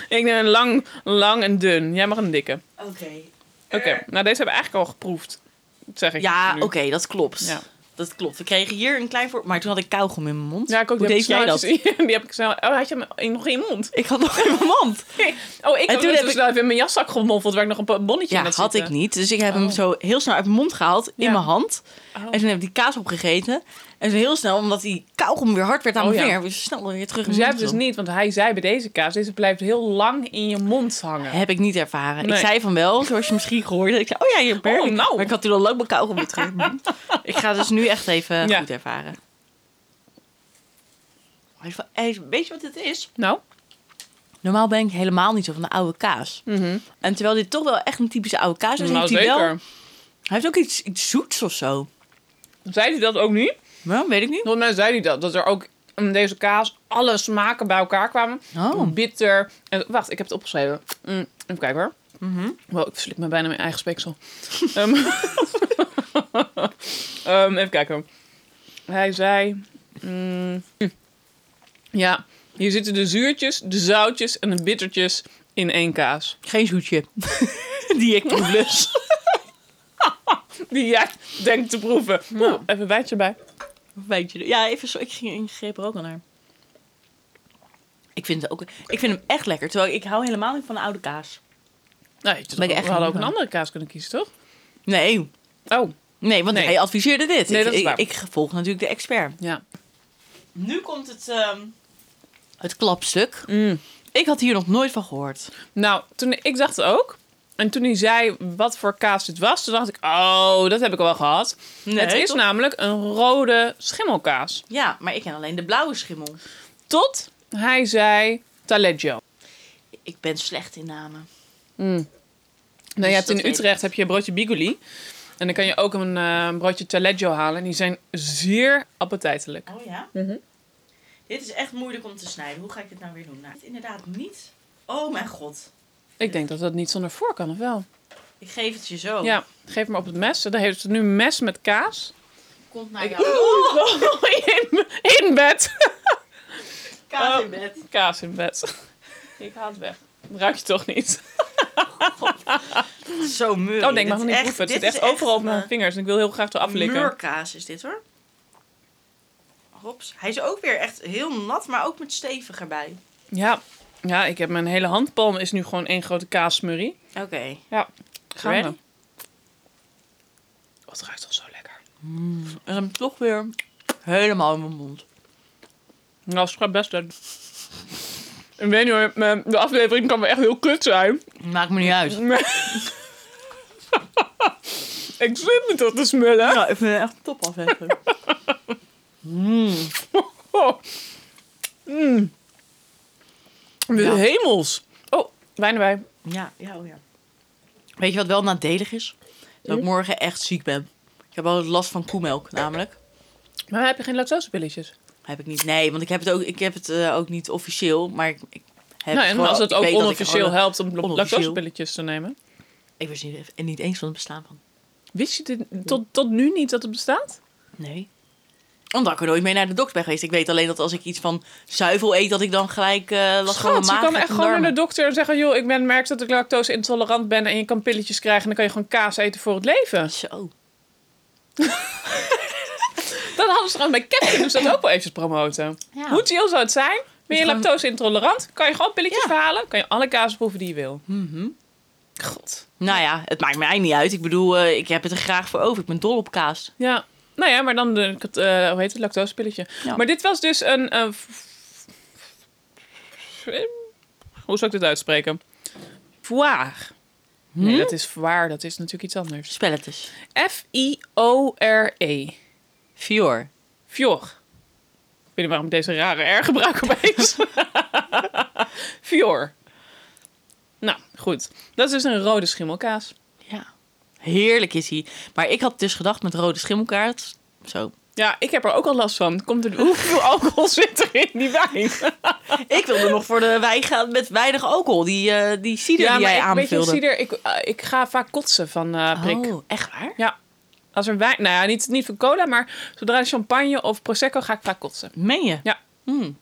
[SPEAKER 4] ik neem een lang, lang en dun. Jij mag een dikke.
[SPEAKER 3] Oké.
[SPEAKER 4] Oké, nou deze hebben we eigenlijk al geproefd. Zeg ik
[SPEAKER 3] Eh.
[SPEAKER 4] dus
[SPEAKER 3] Ja,
[SPEAKER 4] nu.
[SPEAKER 3] oké, dat klopt.
[SPEAKER 4] Ja.
[SPEAKER 3] Dat klopt. We kregen hier een klein voor... Maar toen had ik kauwgom in mijn mond.
[SPEAKER 4] Ja, ik ook.
[SPEAKER 3] Hoe
[SPEAKER 4] die
[SPEAKER 3] deed jij
[SPEAKER 4] heb ik
[SPEAKER 3] dat?
[SPEAKER 4] snel even- Die heb ik snel... Oh, had je hem in- nog in je mond?
[SPEAKER 3] Ik had nog in mijn mond.
[SPEAKER 4] Oh, ik
[SPEAKER 3] En
[SPEAKER 4] had
[SPEAKER 3] toen
[SPEAKER 4] hem
[SPEAKER 3] heb
[SPEAKER 4] dus snel even in mijn jaszak gemoffeld... waar ik nog een paar bonnetje
[SPEAKER 3] Ja,
[SPEAKER 4] in had
[SPEAKER 3] had ik
[SPEAKER 4] zitten. Oh.
[SPEAKER 3] niet. Dus ik heb hem zo heel snel uit mijn mond gehaald,
[SPEAKER 4] Ja.
[SPEAKER 3] in mijn hand.
[SPEAKER 4] Oh.
[SPEAKER 3] En toen heb ik die kaas opgegeten. En zo heel snel, omdat die kauwgom weer hard werd aan
[SPEAKER 4] Oh,
[SPEAKER 3] mijn
[SPEAKER 4] ja.
[SPEAKER 3] vinger, was snel weer terug in
[SPEAKER 4] Dus jij
[SPEAKER 3] mijn
[SPEAKER 4] hebt
[SPEAKER 3] mond.
[SPEAKER 4] dus niet, want hij zei bij deze kaas... deze blijft heel lang in je mond hangen.
[SPEAKER 3] Heb ik niet ervaren.
[SPEAKER 4] Nee.
[SPEAKER 3] Ik zei van wel, zoals je misschien gehoord hebt. Ik zei, oh ja, hier ben
[SPEAKER 4] Oh,
[SPEAKER 3] ik.
[SPEAKER 4] nou.
[SPEAKER 3] Maar ik had toen al lang mijn kauwgom weer terug in mijn mond. Ik ga dus nu echt even
[SPEAKER 4] Ja.
[SPEAKER 3] goed ervaren. Hij is wel- hij is- Weet je wat het is?
[SPEAKER 4] Nou?
[SPEAKER 3] Normaal ben ik helemaal niet zo van de oude kaas. En terwijl dit toch wel echt een typische oude kaas is,
[SPEAKER 4] nou,
[SPEAKER 3] Mhm. Dus heeft hij
[SPEAKER 4] zeker.
[SPEAKER 3] wel... Hij heeft ook iets, iets zoets of zo.
[SPEAKER 4] Zei hij dat ook niet?
[SPEAKER 3] Ja, weet ik niet.
[SPEAKER 4] Volgens mij zei hij dat. Dat er ook in deze kaas alle smaken bij elkaar kwamen.
[SPEAKER 3] Oh.
[SPEAKER 4] Bitter. En, wacht, ik heb het opgeschreven. Mm, even kijken hoor.
[SPEAKER 3] Mhm.
[SPEAKER 4] Wow, ik verslik me bijna mijn eigen speeksel. Ehm, ehm, even kijken. Hij zei... mm, ja, hier zitten de zuurtjes, de zoutjes en de bittertjes in één kaas.
[SPEAKER 3] Geen zoetje. Die ik proef dus.
[SPEAKER 4] Die jij denkt te proeven. Oeh, even een wijntje bij.
[SPEAKER 3] Weet je, ja, even zo. Ik ging ik greep er ook al naar. Ik vind, het ook, ik vind hem echt lekker. Terwijl ik hou helemaal niet van de oude kaas.
[SPEAKER 4] Nou, je-
[SPEAKER 3] Ben ik echt
[SPEAKER 4] we hadden ook een
[SPEAKER 3] benieuwd.
[SPEAKER 4] andere kaas kunnen kiezen, toch?
[SPEAKER 3] Nee,
[SPEAKER 4] Oh,
[SPEAKER 3] nee want
[SPEAKER 4] Nee.
[SPEAKER 3] hij adviseerde dit.
[SPEAKER 4] Nee,
[SPEAKER 3] ik,
[SPEAKER 4] dat is
[SPEAKER 3] ik-
[SPEAKER 4] waar.
[SPEAKER 3] Ik, volg natuurlijk de expert.
[SPEAKER 4] ja.
[SPEAKER 3] Nu komt het, ehm, het klapstuk. Ik had hier nog nooit van gehoord.
[SPEAKER 4] Nou, toen, ik dacht het ook. En toen hij zei wat voor kaas dit was, toen dacht ik, oh, dat heb ik al wel gehad.
[SPEAKER 3] Nee,
[SPEAKER 4] het is
[SPEAKER 3] toch?
[SPEAKER 4] namelijk een rode schimmelkaas.
[SPEAKER 3] Ja, maar ik ken alleen de blauwe schimmel.
[SPEAKER 4] Tot hij zei taleggio.
[SPEAKER 3] Ik ben slecht in namen.
[SPEAKER 4] Nou, je
[SPEAKER 3] Dus
[SPEAKER 4] hebt
[SPEAKER 3] dat
[SPEAKER 4] in
[SPEAKER 3] weet
[SPEAKER 4] Utrecht heb je een broodje bigoli. En dan kan je ook een eh, broodje taleggio halen. En die zijn zeer appetijtelijk.
[SPEAKER 3] Oh ja? Dit is echt moeilijk om te snijden. Hoe ga ik dit nou weer doen? Nou, inderdaad niet. Oh mijn god.
[SPEAKER 4] Ik denk dat dat niet zonder voor kan, of wel?
[SPEAKER 3] Ik geef het je zo.
[SPEAKER 4] Ja, geef me op het mes. Dan heeft het nu mes met kaas.
[SPEAKER 3] Komt naar
[SPEAKER 4] Ik-
[SPEAKER 3] jou.
[SPEAKER 4] in, in bed.
[SPEAKER 3] Kaas in bed.
[SPEAKER 4] Kaas in bed. Ik haal het weg. Dat ruik je toch niet?
[SPEAKER 3] Zo murrie.
[SPEAKER 4] Oh nee, ik mag
[SPEAKER 3] Dit
[SPEAKER 4] het
[SPEAKER 3] is
[SPEAKER 4] niet proeven. Het
[SPEAKER 3] dit
[SPEAKER 4] zit echt
[SPEAKER 3] is
[SPEAKER 4] overal op mijn
[SPEAKER 3] een,
[SPEAKER 4] vingers. En ik wil heel graag eraf
[SPEAKER 3] eh,
[SPEAKER 4] likken.
[SPEAKER 3] Muurkaas is dit hoor. Hops. Hij is ook weer echt heel nat, maar ook met stevig erbij.
[SPEAKER 4] Ja. ja, ik heb mijn hele handpalm is nu gewoon één grote kaassmurrie.
[SPEAKER 3] Oké.
[SPEAKER 4] Ja, gaan
[SPEAKER 3] Ready?
[SPEAKER 4] we. Wat Oh, ruikt toch zo lekker.
[SPEAKER 3] En dan toch weer helemaal in mijn mond.
[SPEAKER 4] Nou, schrap best uit. Ik weet niet hoor, mijn- de aflevering kan wel echt heel kut zijn.
[SPEAKER 3] Maakt me niet uit.
[SPEAKER 4] Maar- ik zit me toch te smullen.
[SPEAKER 3] Nou, ik vind het echt een top aflevering.
[SPEAKER 4] Oh. Mm. De
[SPEAKER 3] Ja.
[SPEAKER 4] hemels. Oh, wijn erbij.
[SPEAKER 3] Ja, ja, oh ja. Hm? Weet je wat wel nadelig is? Dat ik morgen echt ziek ben. Ik heb altijd last van koemelk, namelijk.
[SPEAKER 4] Maar heb je geen lactosepilletjes?
[SPEAKER 3] Heb ik niet. Nee, want ik heb het ook, ik heb het, eh, ook niet officieel, maar ik, ik heb
[SPEAKER 4] Nou,
[SPEAKER 3] het
[SPEAKER 4] en
[SPEAKER 3] gewoon-
[SPEAKER 4] als het
[SPEAKER 3] ik
[SPEAKER 4] ook
[SPEAKER 3] weet dat ik
[SPEAKER 4] onofficieel
[SPEAKER 3] gewoon-
[SPEAKER 4] helpt om
[SPEAKER 3] onofficieel.
[SPEAKER 4] lactosepilletjes te nemen.
[SPEAKER 3] Ik wist niet, en niet eens van het bestaan van.
[SPEAKER 4] Wist je dit tot, tot nu niet dat het bestaat?
[SPEAKER 3] Nee. Omdat ik er nooit mee naar de dokter ben geweest. Ik weet alleen dat als ik iets van zuivel eet, dat ik dan gelijk eh last van mijn
[SPEAKER 4] Schat,
[SPEAKER 3] maag
[SPEAKER 4] je kan
[SPEAKER 3] heb
[SPEAKER 4] echt
[SPEAKER 3] en
[SPEAKER 4] gewoon naar de
[SPEAKER 3] darmen.
[SPEAKER 4] dokter en zeggen... joh, ik ben, merk dat ik lactose intolerant ben en je kan pilletjes krijgen... en dan kan je gewoon kaas eten voor het leven.
[SPEAKER 3] Zo.
[SPEAKER 4] Dat hadden ze trouwens bij Captain dus dat ook wel eventjes promoten.
[SPEAKER 3] Ja.
[SPEAKER 4] Hoe chill zou het zijn? Ben je
[SPEAKER 3] gewoon-
[SPEAKER 4] lactose intolerant? Kan je gewoon pilletjes
[SPEAKER 3] Ja. Mhm.
[SPEAKER 4] verhalen? Kan je alle kaas proeven die je wil? God.
[SPEAKER 3] Nou ja, het maakt mij niet uit. Ik bedoel, eh, ik heb het er graag voor over. Ik ben dol op kaas.
[SPEAKER 4] Ja. Nou ja, maar dan de, eh, hoe heet het, lactosepilletje.
[SPEAKER 3] Ja.
[SPEAKER 4] Maar dit was dus een... eh, Hoe zou ik dit uitspreken? Voir. Nee, dat is waar. Dat is natuurlijk iets anders.
[SPEAKER 3] Spel het eens.
[SPEAKER 4] F-I-O-R-E.
[SPEAKER 3] Fior.
[SPEAKER 4] Fjor. Ik weet niet waarom ik deze rare R gebruik opeens. Fjor. Nou, goed. Dat is dus een rode schimmelkaas.
[SPEAKER 3] Ja. Heerlijk is hij. Maar ik had dus gedacht met rode schimmelkaart. Zo.
[SPEAKER 4] Ja, ik heb er ook al last van. Komt er, hoeveel alcohol zit er in die wijn?
[SPEAKER 3] Ik wilde nog voor de wijn gaan met weinig alcohol. Die, eh, die cider die jij
[SPEAKER 4] ik, weet je,
[SPEAKER 3] aanvulde.
[SPEAKER 4] cider, ik, eh, ik ga vaak kotsen van eh prik.
[SPEAKER 3] Oh, echt waar?
[SPEAKER 4] Ja. Als er wijn... Nou ja, niet, niet van cola, maar zodra champagne of prosecco ga ik vaak kotsen.
[SPEAKER 3] Meen je?
[SPEAKER 4] Ja.
[SPEAKER 3] Hmm.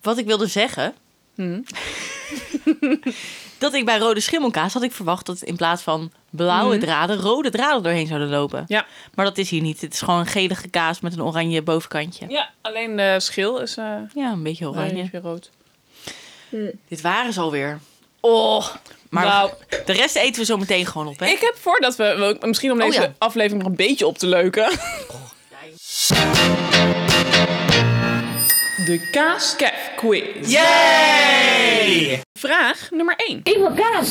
[SPEAKER 3] Wat ik wilde zeggen.
[SPEAKER 4] Hmm.
[SPEAKER 3] dat ik bij rode schimmelkaas had ik verwacht dat in plaats van blauwe draden rode draden doorheen zouden lopen.
[SPEAKER 4] Hmm. Ja.
[SPEAKER 3] Maar dat is hier niet. Het is gewoon een gelige kaas met een oranje bovenkantje. Ja,
[SPEAKER 4] Ja, alleen de schil is eh
[SPEAKER 3] een beetje oranje.
[SPEAKER 4] oranje. rood.
[SPEAKER 3] Dit waren ze alweer. Oh. Maar
[SPEAKER 4] Nou.
[SPEAKER 3] de rest eten we zo meteen gewoon op, hè?
[SPEAKER 4] Ik heb voordat we, we- misschien om
[SPEAKER 3] Oh,
[SPEAKER 4] deze
[SPEAKER 3] ja. Oh,
[SPEAKER 4] aflevering nog een beetje op te leuken. De Kaaskef Quiz. Vraag nummer 1.
[SPEAKER 5] Ik wil kaas.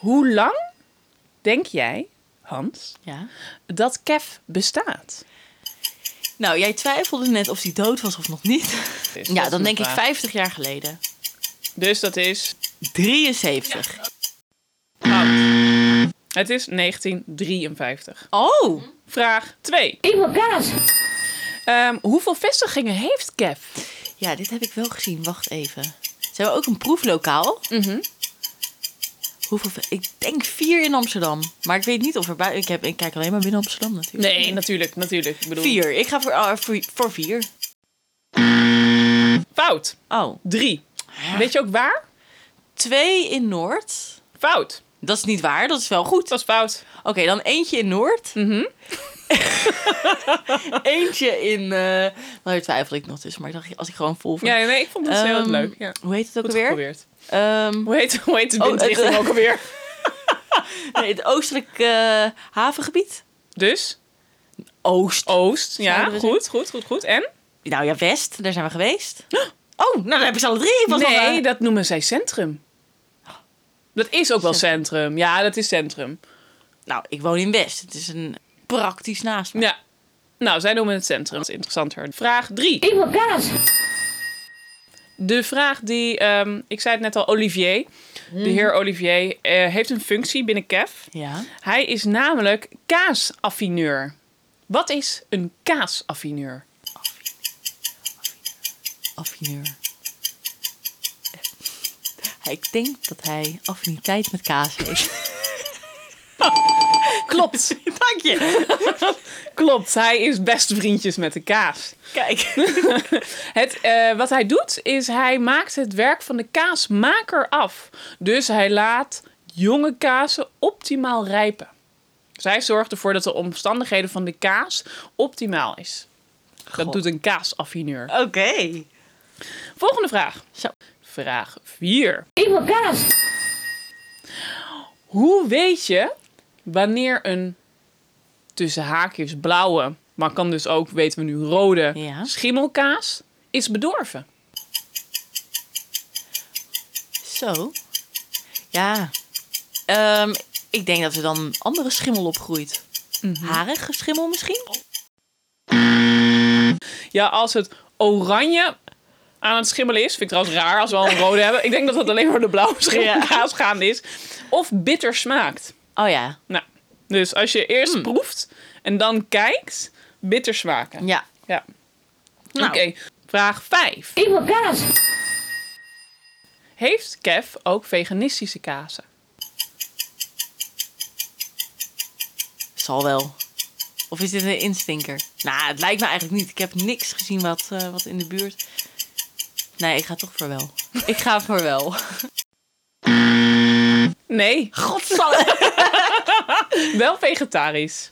[SPEAKER 4] Hoe lang denk jij, Hans,
[SPEAKER 3] Ja.
[SPEAKER 4] dat Kef bestaat?
[SPEAKER 3] Nou, jij twijfelde net of hij dood was of nog niet.
[SPEAKER 4] Dus dat
[SPEAKER 3] Ja,
[SPEAKER 4] is
[SPEAKER 3] dan
[SPEAKER 4] een
[SPEAKER 3] denk ik
[SPEAKER 4] vraag.
[SPEAKER 3] 50 jaar geleden.
[SPEAKER 4] Dus dat is
[SPEAKER 3] 73.
[SPEAKER 4] Het is 1953.
[SPEAKER 3] Oh.
[SPEAKER 4] Vraag 2.
[SPEAKER 5] Ik wil kaas.
[SPEAKER 4] Ehm, hoeveel vestigingen heeft Kev?
[SPEAKER 3] Ja, dit heb ik wel gezien. Wacht even. Ze hebben ook een proeflokaal.
[SPEAKER 4] Mhm.
[SPEAKER 3] Hoeveel? Ik denk vier in Amsterdam. Maar ik weet niet of er bij... Ik, heb, ik kijk alleen maar binnen Amsterdam natuurlijk.
[SPEAKER 4] Nee, natuurlijk, natuurlijk. Ik bedoel,
[SPEAKER 3] Vier. Ik ga voor, ah, voor, voor vier.
[SPEAKER 4] Fout.
[SPEAKER 3] Oh.
[SPEAKER 4] Drie. Weet je ook waar?
[SPEAKER 3] Twee in Noord.
[SPEAKER 4] Fout.
[SPEAKER 3] Dat is niet waar. Dat is wel goed.
[SPEAKER 4] Dat was fout.
[SPEAKER 3] Oké, dan eentje in Noord.
[SPEAKER 4] Mhm.
[SPEAKER 3] eentje in... eh nou, hier twijfel ik nog tussen. Maar ik dacht, als ik gewoon vol... van-
[SPEAKER 4] Ja, nee, ik vond het dus heel
[SPEAKER 3] Ehm,
[SPEAKER 4] leuk. Ja.
[SPEAKER 3] Hoe heet het ook
[SPEAKER 4] Goed
[SPEAKER 3] alweer?
[SPEAKER 4] geprobeerd.
[SPEAKER 3] Ehm
[SPEAKER 4] Hoe heet, hoe heet de
[SPEAKER 3] Oh,
[SPEAKER 4] windrichting
[SPEAKER 3] het, eh,
[SPEAKER 4] ook alweer?
[SPEAKER 3] nee, Ehm, het oostelijk eh, havengebied.
[SPEAKER 4] Dus,
[SPEAKER 3] Oost.
[SPEAKER 4] oost. Ja,
[SPEAKER 3] Zouden we
[SPEAKER 4] goed, goed, goed, goed. En?
[SPEAKER 3] Nou ja, West, daar zijn we geweest. Oh, nou dan heb ik ze alle drie. Ik was al, eh,
[SPEAKER 4] Nee, dat noemen zij centrum. Dat is ook wel centrum. Ja, dat is centrum.
[SPEAKER 3] Nou, ik woon in West. Het is een praktisch naast me.
[SPEAKER 4] Ja. Nou, zij noemen het centrum. Dat is interessanter. Vraag drie.
[SPEAKER 5] Ik wil kaas.
[SPEAKER 4] De vraag die, ehm, ik zei het net al, Olivier, de heer Olivier, eh, heeft een functie binnen KEF.
[SPEAKER 3] Hmm. Ja.
[SPEAKER 4] Hij is namelijk kaasaffineur. Wat is een kaasaffineur?
[SPEAKER 3] Affineur. Ik denk dat hij affiniteit met kaas heeft. Klopt. Dank je.
[SPEAKER 4] Klopt, hij is best vriendjes met de kaas.
[SPEAKER 3] Kijk.
[SPEAKER 4] Het, eh, wat hij doet, is hij maakt het werk van de kaasmaker af. Dus hij laat jonge kazen optimaal rijpen. Zij zorgt ervoor dat de omstandigheden van de kaas optimaal is. Dat
[SPEAKER 3] God.
[SPEAKER 4] doet een kaasaffineur.
[SPEAKER 3] Oké.
[SPEAKER 4] Volgende vraag.
[SPEAKER 3] Zo.
[SPEAKER 4] Vraag 4.
[SPEAKER 5] Ik wil kaas.
[SPEAKER 4] Hoe weet je wanneer een tussen haakjes blauwe, maar kan dus ook, weten we nu, rode
[SPEAKER 3] Ja.
[SPEAKER 4] schimmelkaas is bedorven?
[SPEAKER 3] Zo. Ja. Ehm, ik denk dat er dan een andere schimmel opgroeit. Mhm. Harige schimmel misschien?
[SPEAKER 4] Ja, als het oranje aan het schimmelen is, vind ik trouwens raar als we al een rode hebben. Ik denk dat dat alleen voor de blauwe schimmelkaas gaande is. Of bitter smaakt.
[SPEAKER 3] Oh ja.
[SPEAKER 4] Nou, dus als je eerst
[SPEAKER 3] Hmm.
[SPEAKER 4] proeft en dan kijkt, bitter smaken.
[SPEAKER 3] Ja.
[SPEAKER 4] Ja.
[SPEAKER 3] Nou.
[SPEAKER 4] Oké, vraag 5.
[SPEAKER 5] Ik wil kaas.
[SPEAKER 4] Heeft Kev ook veganistische kazen?
[SPEAKER 3] Zal wel. Of is dit een instinker? Nou, het lijkt me eigenlijk niet. Ik heb niks gezien wat, eh, wat in de buurt. Nee, ik ga toch voor wel. Ik ga voor wel.
[SPEAKER 4] Nee,
[SPEAKER 3] Godsalle.
[SPEAKER 4] wel vegetarisch.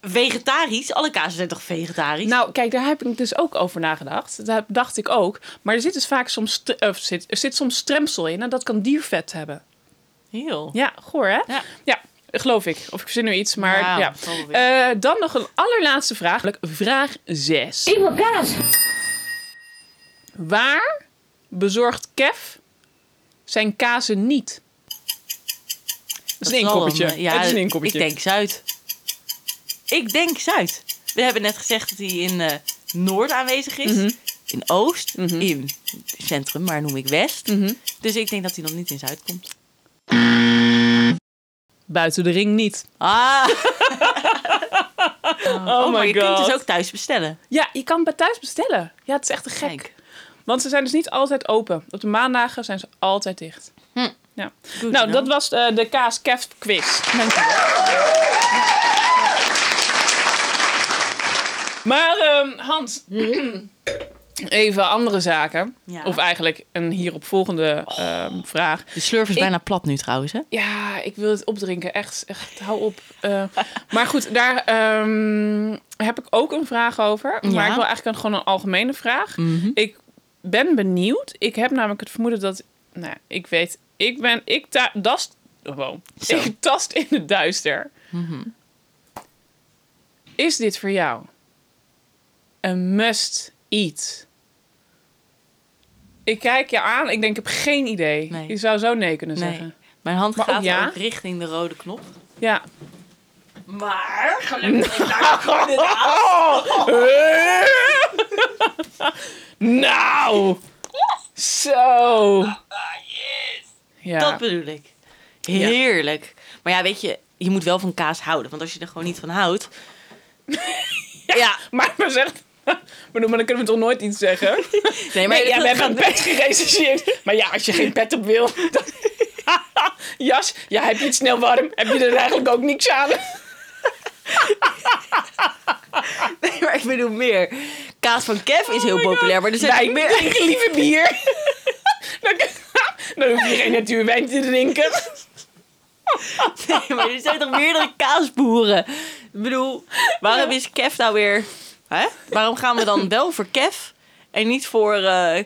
[SPEAKER 3] Vegetarisch? Alle kazen zijn toch vegetarisch?
[SPEAKER 4] Nou, kijk, daar heb ik dus ook over nagedacht. Daar dacht ik ook. Maar er zit dus vaak soms, st- of zit, er zit soms stremsel in en dat kan diervet hebben.
[SPEAKER 3] heel.
[SPEAKER 4] Ja, goor hè?
[SPEAKER 3] Ja.
[SPEAKER 4] geloof ik. Of ik verzin nu iets, maar
[SPEAKER 3] Nou,
[SPEAKER 4] ja.
[SPEAKER 3] geloof ik.
[SPEAKER 4] Eh, dan nog een allerlaatste vraag. Vraag 6.
[SPEAKER 5] Ik wil kaas.
[SPEAKER 4] Waar bezorgt Kev zijn kazen niet? Dat is een
[SPEAKER 3] zal
[SPEAKER 4] inkoppertje.
[SPEAKER 3] hem, eh, ja,
[SPEAKER 4] het is een inkoppertje.
[SPEAKER 3] Ik denk Zuid. Ik denk Zuid. We hebben net gezegd dat hij in eh, Noord aanwezig is.
[SPEAKER 4] Mhm.
[SPEAKER 3] In Oost. In Centrum, maar noem ik West.
[SPEAKER 4] Mhm.
[SPEAKER 3] Dus ik denk dat hij nog niet in Zuid komt.
[SPEAKER 4] Buiten de ring niet.
[SPEAKER 3] Ah,
[SPEAKER 4] Oh,
[SPEAKER 3] maar
[SPEAKER 4] my
[SPEAKER 3] je kunt
[SPEAKER 4] god.
[SPEAKER 3] dus ook thuis bestellen.
[SPEAKER 4] Ja, je kan bij thuis bestellen. Ja, het is echt te gek.
[SPEAKER 3] Kijk.
[SPEAKER 4] Want ze zijn dus niet altijd open. Op de maandagen zijn ze altijd dicht. Ja.
[SPEAKER 3] Hm. Goed
[SPEAKER 4] nou,
[SPEAKER 3] to
[SPEAKER 4] dat
[SPEAKER 3] know.
[SPEAKER 4] was eh, de kaas kef quiz. Maar ehm, Hans, even andere zaken.
[SPEAKER 3] Hm. Ja.
[SPEAKER 4] Of eigenlijk een hierop volgende ehm, vraag.
[SPEAKER 3] De slurf is
[SPEAKER 4] Ik-
[SPEAKER 3] bijna plat nu trouwens, hè?
[SPEAKER 4] Ja, ik wil het opdrinken. Echt, echt hou op. Eh, maar goed, daar ehm, heb ik ook een vraag over. Maar
[SPEAKER 3] Ja. Mhm.
[SPEAKER 4] ik wil eigenlijk een- gewoon een algemene vraag. Ik ben benieuwd. Ik heb namelijk het vermoeden dat... Nou, ik weet... Ik ben... Ik ta dast... Wow.
[SPEAKER 3] Zo. Mhm.
[SPEAKER 4] Ik tast in het duister. Is dit voor jou een must-eat? Ik kijk je aan. Ik denk, ik heb geen idee.
[SPEAKER 3] Nee.
[SPEAKER 4] Je zou zo nee kunnen zeggen.
[SPEAKER 3] Nee. Mijn hand
[SPEAKER 4] Maar ook
[SPEAKER 3] gaat ook,
[SPEAKER 4] ja?
[SPEAKER 3] richting de rode knop.
[SPEAKER 4] Ja.
[SPEAKER 3] Maar gelukkig is
[SPEAKER 4] Oh. Nou! Zo! Ja.
[SPEAKER 3] Dat bedoel ik. Heerlijk. Maar ja, weet je, je moet wel van kaas houden. Want als je er gewoon niet van houdt... ja,
[SPEAKER 4] maar we zeggen. Maar dan kunnen we toch nooit iets zeggen?
[SPEAKER 3] nee, maar
[SPEAKER 4] Nee, ja,
[SPEAKER 3] dat
[SPEAKER 4] we hebben een
[SPEAKER 3] gaat-
[SPEAKER 4] pet gereserveerd. Maar ja, als je geen pet op wil. dan- Jas, ja, heb je het snel warm? Heb je er eigenlijk ook niks aan?
[SPEAKER 3] Nee, maar ik bedoel meer. Kaas van Kev
[SPEAKER 4] Oh
[SPEAKER 3] is heel populair, maar er zijn
[SPEAKER 4] Wijn,
[SPEAKER 3] ook meer...
[SPEAKER 4] drink liever bier. Dan, dan hoef je geen natuurwijn te drinken.
[SPEAKER 3] Nee, maar er zijn toch meerdere kaasboeren? Ik bedoel, waarom is Kev nou weer... Hè? Waarom gaan we dan wel voor Kev en niet voor eh
[SPEAKER 4] Ja, waarom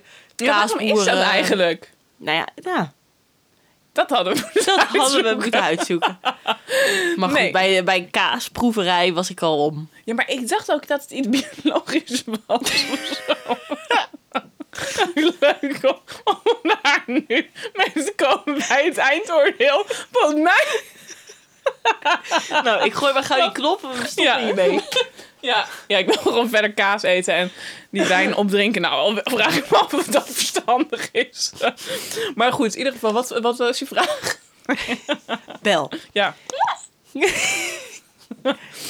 [SPEAKER 3] kaasboeren?
[SPEAKER 4] is dat eigenlijk?
[SPEAKER 3] Nou ja, ja
[SPEAKER 4] Dat hadden we
[SPEAKER 3] dat hadden we
[SPEAKER 4] uitzoeken.
[SPEAKER 3] moeten uitzoeken. Maar goed,
[SPEAKER 4] Nee.
[SPEAKER 3] bij, bij kaasproeverij was ik al om.
[SPEAKER 4] Ja, maar ik dacht ook dat het iets biologisch was. of zo. Leuk om, om daar nu mee te komen bij het eindoordeel. Volgens mij.
[SPEAKER 3] Nou, ik gooi maar gauw die knop en we stoppen hiermee.
[SPEAKER 4] Ja. ja, ik wil gewoon verder kaas eten en die wijn opdrinken. Nou, al vraag ik me af of dat verstandig is. Maar goed, in ieder geval, wat, wat was je vraag?
[SPEAKER 3] Bel.
[SPEAKER 4] Ja.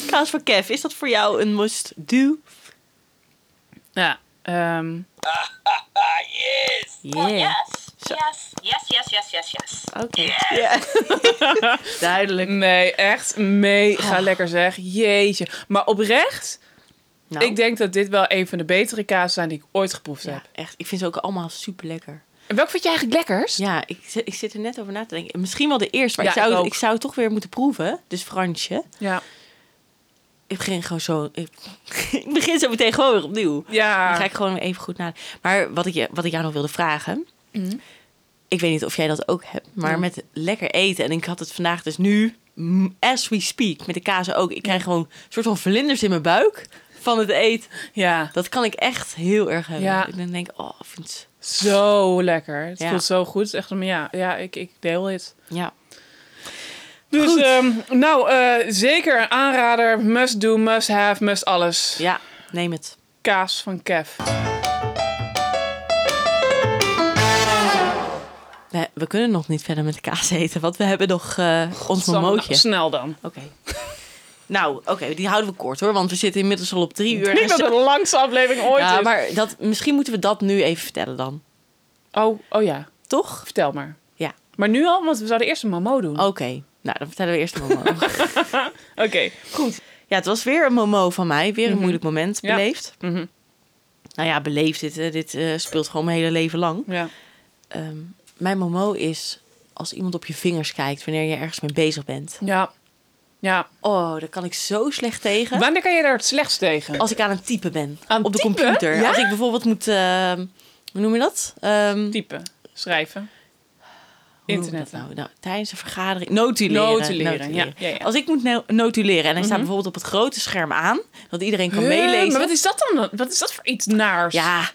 [SPEAKER 3] Kaas van Kev, is dat voor jou een must-do?
[SPEAKER 4] Ja. ehm,
[SPEAKER 3] Yeah.
[SPEAKER 5] Yes, yes, yes, yes, yes, yes.
[SPEAKER 3] Oké. Duidelijk.
[SPEAKER 4] nee, echt mega lekker zeg. Jeetje. Maar oprecht,
[SPEAKER 3] Nou,
[SPEAKER 4] ik denk dat dit wel een van de betere kaas zijn die ik ooit geproefd heb.
[SPEAKER 3] ja, echt. Ik vind ze ook allemaal super lekker.
[SPEAKER 4] En welk vind je eigenlijk lekkers?
[SPEAKER 3] Ja, ik, zit- ik zit er net over na te denken. Misschien wel de eerste, maar ik,
[SPEAKER 4] Ja,
[SPEAKER 3] zou,
[SPEAKER 4] ik ook.
[SPEAKER 3] ik, zou het toch weer moeten proeven. Dus Fransje.
[SPEAKER 4] Ja.
[SPEAKER 3] Ik begin gewoon zo. Ik, ik begin zo meteen gewoon weer opnieuw.
[SPEAKER 4] Ja.
[SPEAKER 3] Dan ga ik gewoon weer even goed nadenken. Maar wat ik, je, wat ik jou nog wilde vragen.
[SPEAKER 4] Mhm.
[SPEAKER 3] Ik weet niet of jij dat ook hebt. Maar met lekker eten. En ik had het vandaag dus nu. mm, As we speak. Met de kazen ook. Ik krijg gewoon een soort van vlinders in mijn buik. Van het eten.
[SPEAKER 4] ja.
[SPEAKER 3] Dat kan ik echt heel erg hebben.
[SPEAKER 4] Ja.
[SPEAKER 3] Ik dan denk ik, oh, ik vind het...
[SPEAKER 4] Zo lekker. Het
[SPEAKER 3] Ja.
[SPEAKER 4] voelt zo goed. Echt, maar ja, ja ik, ik deel het.
[SPEAKER 3] Ja.
[SPEAKER 4] Dus,
[SPEAKER 3] Goed.
[SPEAKER 4] ehm, nou, eh, zeker een aanrader. Must do, must have, must alles.
[SPEAKER 3] Ja, neem het.
[SPEAKER 4] Kaas van Kev.
[SPEAKER 3] Nee, we kunnen nog niet verder met de kaas eten. Want we hebben nog eh ons
[SPEAKER 4] Sam, nou,
[SPEAKER 3] momootje.
[SPEAKER 4] snel dan.
[SPEAKER 3] Oké. Nou, oké, die houden we kort hoor, want we zitten inmiddels al op drie uur.
[SPEAKER 4] Ik denk dat het de langste aflevering ooit
[SPEAKER 3] ja,
[SPEAKER 4] is.
[SPEAKER 3] maar dat, misschien moeten we dat nu even vertellen dan.
[SPEAKER 4] Oh, oh ja,
[SPEAKER 3] Toch?
[SPEAKER 4] vertel maar.
[SPEAKER 3] Ja.
[SPEAKER 4] Maar nu al, want we zouden eerst een Momo doen.
[SPEAKER 3] Oké. Nou, dan vertellen we eerst de momo.
[SPEAKER 4] Oké, goed.
[SPEAKER 3] ja, het was weer een momo van mij. Weer een moeilijk moment
[SPEAKER 4] Mhm. Ja. Mhm.
[SPEAKER 3] beleefd. Nou ja, beleefd. Dit, eh, dit eh, speelt gewoon mijn hele leven lang.
[SPEAKER 4] Ja.
[SPEAKER 3] Ehm, mijn momo is als iemand op je vingers kijkt wanneer je ergens mee bezig bent.
[SPEAKER 4] ja. Ja.
[SPEAKER 3] Oh, daar kan ik zo slecht tegen.
[SPEAKER 4] Wanneer kan je daar het slechtst tegen?
[SPEAKER 3] Als ik aan het typen ben.
[SPEAKER 4] Aan
[SPEAKER 3] op de
[SPEAKER 4] typen?
[SPEAKER 3] computer.
[SPEAKER 4] Ja?
[SPEAKER 3] Als ik bijvoorbeeld moet... ehm, hoe noem je dat? Ehm,
[SPEAKER 4] Typen, schrijven,
[SPEAKER 3] Hoe noem ik
[SPEAKER 4] internet.
[SPEAKER 3] dat Nou, nou, tijdens een vergadering. Notuleren.
[SPEAKER 4] Notuleren, ja, ja, ja.
[SPEAKER 3] Als ik moet no- notuleren en hij staat bijvoorbeeld op het grote scherm aan, dat iedereen nou? kan
[SPEAKER 4] Huh,
[SPEAKER 3] meelezen.
[SPEAKER 4] Maar wat is dat dan? Wat is dat voor iets naars?
[SPEAKER 3] Ja,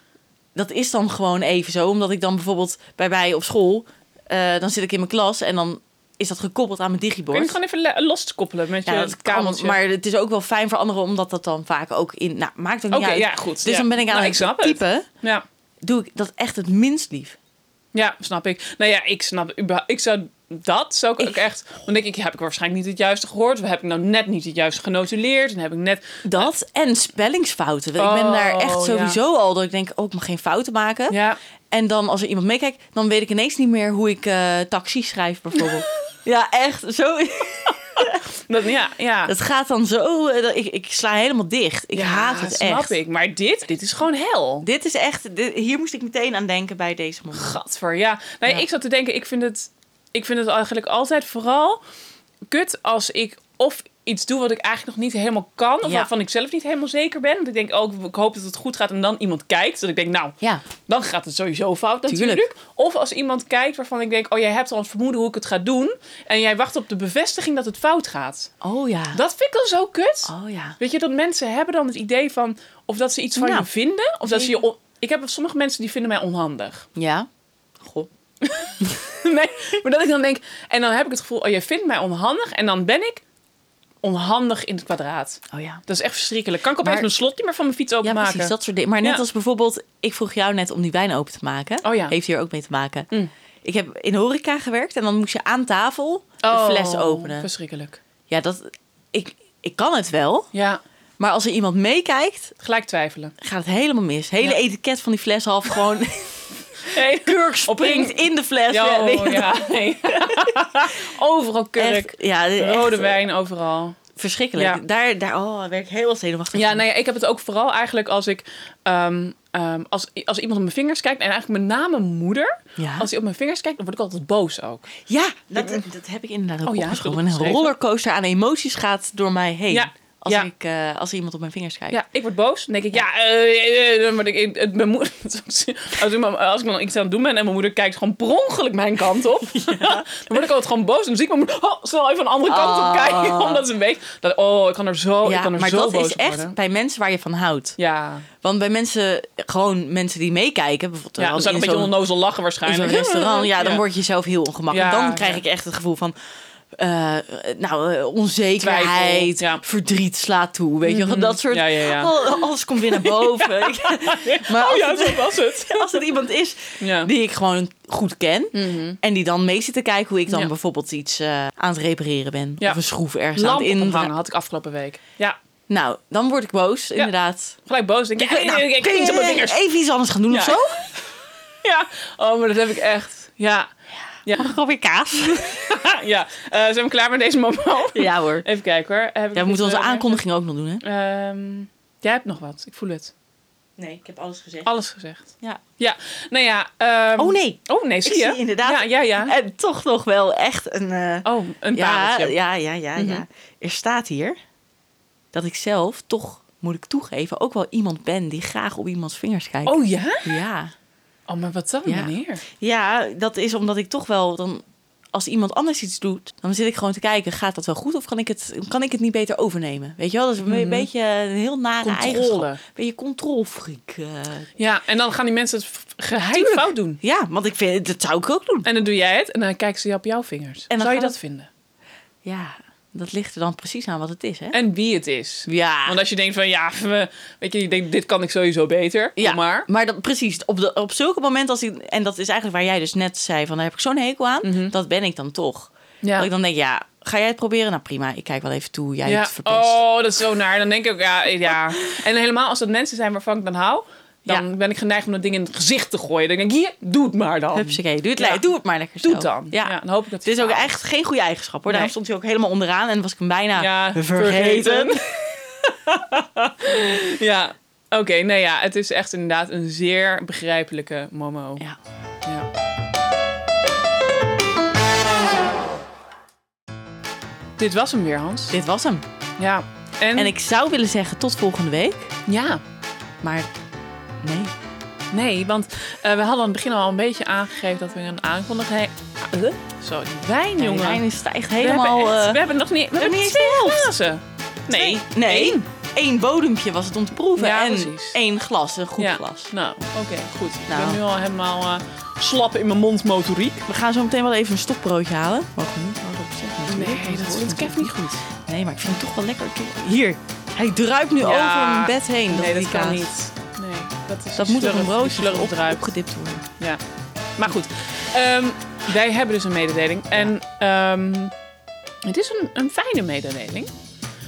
[SPEAKER 3] dat is dan gewoon even zo. Omdat ik dan bijvoorbeeld bij mij op school, eh, dan zit ik in mijn klas en dan is dat gekoppeld aan mijn digibord.
[SPEAKER 4] Kun je het gewoon even le- los te koppelen met
[SPEAKER 3] Ja,
[SPEAKER 4] je
[SPEAKER 3] dat kan,
[SPEAKER 4] kabeltje?
[SPEAKER 3] maar het is ook wel fijn voor anderen, omdat dat dan vaak ook in... Nou, maakt ook niet
[SPEAKER 4] Oké,
[SPEAKER 3] uit.
[SPEAKER 4] ja, goed.
[SPEAKER 3] Dus
[SPEAKER 4] Ja.
[SPEAKER 3] dan ben ik aan
[SPEAKER 4] Nou, ik
[SPEAKER 3] het
[SPEAKER 4] snap het.
[SPEAKER 3] typen.
[SPEAKER 4] Ja.
[SPEAKER 3] Doe ik dat echt het minst lief.
[SPEAKER 4] ja, snap ik. Nou ja, ik snap... überha- Ik zou... Dat zou ik ook echt... Want dan denk ik, heb ik waarschijnlijk niet het juiste gehoord? Of heb ik nou net niet het juiste genotuleerd? En heb ik net...
[SPEAKER 3] Dat en spellingsfouten. Want ik ben daar
[SPEAKER 4] Oh,
[SPEAKER 3] echt
[SPEAKER 4] ja.
[SPEAKER 3] sowieso al dat ik denk, oh, ik mag geen fouten maken.
[SPEAKER 4] Ja,
[SPEAKER 3] En dan als er iemand meekijkt, dan weet ik ineens niet meer hoe ik eh, taxi schrijf bijvoorbeeld. ja, echt. Zo,
[SPEAKER 4] dat, ja, ja.
[SPEAKER 3] het gaat dan zo. eh, dat ik, ik sla helemaal dicht. Ik
[SPEAKER 4] ja,
[SPEAKER 3] haat het
[SPEAKER 4] snap
[SPEAKER 3] echt.
[SPEAKER 4] ik. Maar dit, dit is gewoon hel.
[SPEAKER 3] Dit is echt. dit- hier moest ik meteen aan denken bij deze man.
[SPEAKER 4] Gadver, ja. Nou, ja,
[SPEAKER 3] Ja.
[SPEAKER 4] Ik zat te denken, ik vind, het, ik vind het eigenlijk altijd vooral kut als ik of iets doe wat ik eigenlijk nog niet helemaal kan. Of
[SPEAKER 3] Ja.
[SPEAKER 4] waarvan ik zelf niet helemaal zeker ben. Want ik denk ook, ik hoop dat het goed gaat en dan iemand kijkt. Dat ik denk, nou,
[SPEAKER 3] Ja,
[SPEAKER 4] dan gaat het sowieso fout natuurlijk.
[SPEAKER 3] Tuurlijk.
[SPEAKER 4] Of als iemand kijkt waarvan ik denk, oh jij hebt al een vermoeden hoe ik het ga doen. En jij wacht op de bevestiging dat het fout gaat.
[SPEAKER 3] oh ja.
[SPEAKER 4] Dat vind ik dan zo kut.
[SPEAKER 3] Oh ja.
[SPEAKER 4] Weet je, dat mensen hebben dan het idee van of dat ze iets van
[SPEAKER 3] Nou,
[SPEAKER 4] je vinden. Of dat ze je. on- Ik heb sommige mensen die vinden mij onhandig.
[SPEAKER 3] Ja. Goh.
[SPEAKER 4] Nee, maar dat ik dan denk. En dan heb ik het gevoel, oh, je vindt mij onhandig. En dan ben ik onhandig in het kwadraat.
[SPEAKER 3] Oh ja.
[SPEAKER 4] Dat is echt verschrikkelijk. Kan ik opeens
[SPEAKER 3] Maar-
[SPEAKER 4] mijn slot niet meer van mijn fiets
[SPEAKER 3] Ja,
[SPEAKER 4] openmaken?
[SPEAKER 3] precies, dat soort dingen. Maar net
[SPEAKER 4] Ja.
[SPEAKER 3] als bijvoorbeeld, ik vroeg jou net om die wijn open te maken.
[SPEAKER 4] Oh ja.
[SPEAKER 3] Heeft hier ook mee te maken.
[SPEAKER 4] Mm.
[SPEAKER 3] Ik heb in horeca gewerkt en dan moest je aan tafel
[SPEAKER 4] Oh,
[SPEAKER 3] de fles openen.
[SPEAKER 4] Verschrikkelijk.
[SPEAKER 3] Ja, dat, ik, ik kan het wel.
[SPEAKER 4] Ja,
[SPEAKER 3] Maar als er iemand meekijkt,
[SPEAKER 4] gelijk twijfelen.
[SPEAKER 3] gaat het helemaal mis. Hele
[SPEAKER 4] Ja.
[SPEAKER 3] etiket van die fles half gewoon
[SPEAKER 4] Hey, kurk
[SPEAKER 3] springt in de fles.
[SPEAKER 4] Ja, oh,
[SPEAKER 3] Ja, weet je,
[SPEAKER 4] ja, nee. overal kurk.
[SPEAKER 3] echt, ja,
[SPEAKER 4] Rode
[SPEAKER 3] echt
[SPEAKER 4] wijn overal.
[SPEAKER 3] Verschrikkelijk.
[SPEAKER 4] Ja.
[SPEAKER 3] Daar, daar oh, daar werk ik helemaal zenuwachtig
[SPEAKER 4] Ja,
[SPEAKER 3] van.
[SPEAKER 4] nou ja, ik heb het ook vooral eigenlijk als ik. ehm, ehm, als, als iemand op mijn vingers kijkt, en eigenlijk met name mijn moeder.
[SPEAKER 3] Ja.
[SPEAKER 4] Als hij op mijn vingers kijkt, dan word ik altijd boos ook.
[SPEAKER 3] Ja, dat, dat heb ik inderdaad ook
[SPEAKER 4] Oh ja,
[SPEAKER 3] opgeschreven.
[SPEAKER 4] heb ik
[SPEAKER 3] Een
[SPEAKER 4] opgeschreven.
[SPEAKER 3] rollercoaster aan emoties gaat door mij heen.
[SPEAKER 4] Ja,
[SPEAKER 3] Als,
[SPEAKER 4] ja.
[SPEAKER 3] Ik, eh, als er iemand op mijn vingers kijkt.
[SPEAKER 4] Ja, ik word boos. Dan denk ik, ja, eh, eh, eh, maar ik, ik- het- mijn moeder, als, ik, maar- als ik dan iets aan het doen ben en mijn moeder kijkt gewoon per ongeluk mijn kant op, dan word ik altijd gewoon boos. En dan zie ik mijn moeder oh, snel even een andere kant op
[SPEAKER 3] Ah.
[SPEAKER 4] kijken, omdat ze weet dat, oh, ik kan er zo, ik
[SPEAKER 3] Ja,
[SPEAKER 4] kan er
[SPEAKER 3] maar
[SPEAKER 4] zo
[SPEAKER 3] dat
[SPEAKER 4] boos
[SPEAKER 3] is
[SPEAKER 4] op
[SPEAKER 3] echt
[SPEAKER 4] worden.
[SPEAKER 3] bij mensen waar je van houdt.
[SPEAKER 4] Ja,
[SPEAKER 3] Want bij mensen, gewoon mensen die meekijken, bijvoorbeeld
[SPEAKER 4] ja dan
[SPEAKER 3] in
[SPEAKER 4] zou ik een beetje
[SPEAKER 3] zo'n-
[SPEAKER 4] onnozel lachen
[SPEAKER 3] in zo'n
[SPEAKER 4] waarschijnlijk.
[SPEAKER 3] restaurant, ja, dan word je zelf heel ongemakkelijk.
[SPEAKER 4] Ja,
[SPEAKER 3] dan krijg
[SPEAKER 4] ja.
[SPEAKER 3] ik echt het gevoel van, eh, nou, eh, onzekerheid,
[SPEAKER 4] Twijfel, ja. Mhm.
[SPEAKER 3] verdriet slaat toe, weet je, wel. dat soort.
[SPEAKER 4] Ja, ja, ja.
[SPEAKER 3] al- alles komt weer naar boven. Ik- Maar
[SPEAKER 4] Oh
[SPEAKER 3] als,
[SPEAKER 4] ja,
[SPEAKER 3] het,
[SPEAKER 4] zo was het.
[SPEAKER 3] als het iemand is
[SPEAKER 4] Ja.
[SPEAKER 3] die ik gewoon goed ken en die dan mee zit te kijken hoe ik dan
[SPEAKER 4] Ja.
[SPEAKER 3] bijvoorbeeld iets eh, aan het repareren ben
[SPEAKER 4] Ja.
[SPEAKER 3] of een schroef ergens aan
[SPEAKER 4] Lamp
[SPEAKER 3] het in.
[SPEAKER 4] ophangen had ik afgelopen week. Ja,
[SPEAKER 3] Nou, dan word ik boos, inderdaad.
[SPEAKER 4] gelijk boos. Denk ik,
[SPEAKER 3] Ja,
[SPEAKER 4] ik,
[SPEAKER 3] nou,
[SPEAKER 4] ik, ik,
[SPEAKER 3] kun
[SPEAKER 4] ik- op mijn
[SPEAKER 3] je
[SPEAKER 4] vingers.
[SPEAKER 3] even iets anders gaan doen
[SPEAKER 4] Ja.
[SPEAKER 3] of zo?
[SPEAKER 4] Ja, oh, maar dat heb ik echt. Ja,
[SPEAKER 3] Mag ik alweer kaas?
[SPEAKER 4] ja. Eh, zijn we klaar met deze mama?
[SPEAKER 3] Ja hoor.
[SPEAKER 4] Even kijken hoor. Heb ik
[SPEAKER 3] Ja, we
[SPEAKER 4] nog iets,
[SPEAKER 3] moeten onze
[SPEAKER 4] eh,
[SPEAKER 3] aankondiging ook nog doen, hè?
[SPEAKER 4] Ehm, jij hebt nog wat. Ik voel het.
[SPEAKER 3] Nee, ik heb alles gezegd.
[SPEAKER 4] Alles gezegd.
[SPEAKER 3] Ja.
[SPEAKER 4] Ja. Nou ja. ehm,
[SPEAKER 3] Oh nee,
[SPEAKER 4] Oh nee, zie
[SPEAKER 3] ik
[SPEAKER 4] je?
[SPEAKER 3] zie inderdaad.
[SPEAKER 4] Ja, ja, ja.
[SPEAKER 3] En toch nog wel echt een. Mhm. eh,
[SPEAKER 4] Oh, een
[SPEAKER 3] ja,
[SPEAKER 4] pareltje.
[SPEAKER 3] ja, ja, ja, ja. Er staat hier dat ik zelf toch, moet ik toegeven, ook wel iemand ben die graag op iemands vingers kijkt.
[SPEAKER 4] Oh ja?
[SPEAKER 3] Ja.
[SPEAKER 4] Oh, maar wat dan,
[SPEAKER 3] Ja.
[SPEAKER 4] meneer?
[SPEAKER 3] ja, dat is omdat ik toch wel dan. Als iemand anders iets doet, dan zit ik gewoon te kijken: gaat dat wel goed of kan ik het, kan ik het niet beter overnemen? Weet je wel, dat is een beetje een heel nare
[SPEAKER 4] Controle.
[SPEAKER 3] eigenschap. Ben je controlfreak? eh.
[SPEAKER 4] Ja, en dan gaan die mensen het v- geheim
[SPEAKER 3] Tuurlijk.
[SPEAKER 4] fout doen.
[SPEAKER 3] ja, want ik vind dat zou ik ook doen.
[SPEAKER 4] En dan doe jij het en dan kijken ze op jouw vingers.
[SPEAKER 3] dan
[SPEAKER 4] Zou je
[SPEAKER 3] gaan
[SPEAKER 4] dat vinden?
[SPEAKER 3] Ja, dat ligt er dan precies aan wat het is, hè?
[SPEAKER 4] En wie het is.
[SPEAKER 3] Ja.
[SPEAKER 4] Want als je denkt van, ja, we- weet je, je denkt, dit kan ik sowieso beter.
[SPEAKER 3] Ja,
[SPEAKER 4] Maar...
[SPEAKER 3] maar dat, precies, op, de, op zulke momenten als ik... En dat is eigenlijk waar jij dus net zei van, daar heb ik zo'n hekel aan. Dat ben ik dan toch.
[SPEAKER 4] Mhm. Ja.
[SPEAKER 3] Dat ik dan denk, ja, ga jij het proberen? Nou prima, ik kijk wel even toe, jij
[SPEAKER 4] Ja.
[SPEAKER 3] hebt het verpest.
[SPEAKER 4] Oh, dat is zo naar. Dan denk ik ook, ja, ja. En helemaal als dat mensen zijn waarvan ik dan hou, dan
[SPEAKER 3] Ja.
[SPEAKER 4] ben ik geneigd om dat ding in het gezicht te gooien. Dan denk ik, hier, doe het maar dan.
[SPEAKER 3] Hupsakee, doe het,
[SPEAKER 4] Ja.
[SPEAKER 3] le- doe het maar lekker
[SPEAKER 4] Doe
[SPEAKER 3] zelf.
[SPEAKER 4] het dan. Ja.
[SPEAKER 3] Ja.
[SPEAKER 4] dan hoop ik dat
[SPEAKER 3] Het is ook
[SPEAKER 4] faalt.
[SPEAKER 3] echt geen goede eigenschap, hoor. Daarom
[SPEAKER 4] Nee.
[SPEAKER 3] stond hij ook helemaal onderaan en was ik hem bijna
[SPEAKER 4] Ja,
[SPEAKER 3] vergeten.
[SPEAKER 4] ja. Oké, nou ja, het is echt inderdaad een zeer begrijpelijke Momo.
[SPEAKER 3] Ja.
[SPEAKER 4] Ja. Dit was hem weer, Hans.
[SPEAKER 3] Dit was hem.
[SPEAKER 4] Ja. En,
[SPEAKER 3] En ik zou willen zeggen tot volgende week,
[SPEAKER 4] Ja.
[SPEAKER 3] maar nee.
[SPEAKER 4] Nee, want eh, we hadden aan het begin al een beetje aangegeven dat we een aankondiging... Ah, Huh? Sorry, wijn,
[SPEAKER 3] Ja, die
[SPEAKER 4] jongen.
[SPEAKER 3] lijn is stijgt
[SPEAKER 4] we,
[SPEAKER 3] helemaal...
[SPEAKER 4] hebben echt-
[SPEAKER 3] eh,
[SPEAKER 4] we hebben nog niet... We
[SPEAKER 3] hebben
[SPEAKER 4] hebben
[SPEAKER 3] niet
[SPEAKER 4] twee glazen. Nee.
[SPEAKER 3] Nee.
[SPEAKER 4] Eén.
[SPEAKER 3] één bodempje was het om te proeven.
[SPEAKER 4] Ja,
[SPEAKER 3] en
[SPEAKER 4] precies.
[SPEAKER 3] één glas, een goed glas.
[SPEAKER 4] Nou, oké, goed. Ik
[SPEAKER 3] Nou.
[SPEAKER 4] ben nu al helemaal eh, slap in mijn mond motoriek.
[SPEAKER 3] We gaan zo meteen wel even een stokbroodje halen. Mogen we niet hardop zeggen natuurlijk. want hoort natuurlijk
[SPEAKER 4] goed.
[SPEAKER 3] Nee, maar ik vind het toch wel lekker. Ik- Hier, hij druipt nu
[SPEAKER 4] Ja.
[SPEAKER 3] over mijn bed heen.
[SPEAKER 4] nee, dat
[SPEAKER 3] die
[SPEAKER 4] kan
[SPEAKER 3] kaas.
[SPEAKER 4] niet. Nee, dat is
[SPEAKER 3] Dat
[SPEAKER 4] die
[SPEAKER 3] moet op
[SPEAKER 4] slurf-
[SPEAKER 3] een
[SPEAKER 4] die
[SPEAKER 3] broodje
[SPEAKER 4] slurf
[SPEAKER 3] op,
[SPEAKER 4] druip.
[SPEAKER 3] opgedipt worden.
[SPEAKER 4] Ja. Maar goed, ehm, wij hebben dus een mededeling. En ehm, het is een, een fijne mededeling.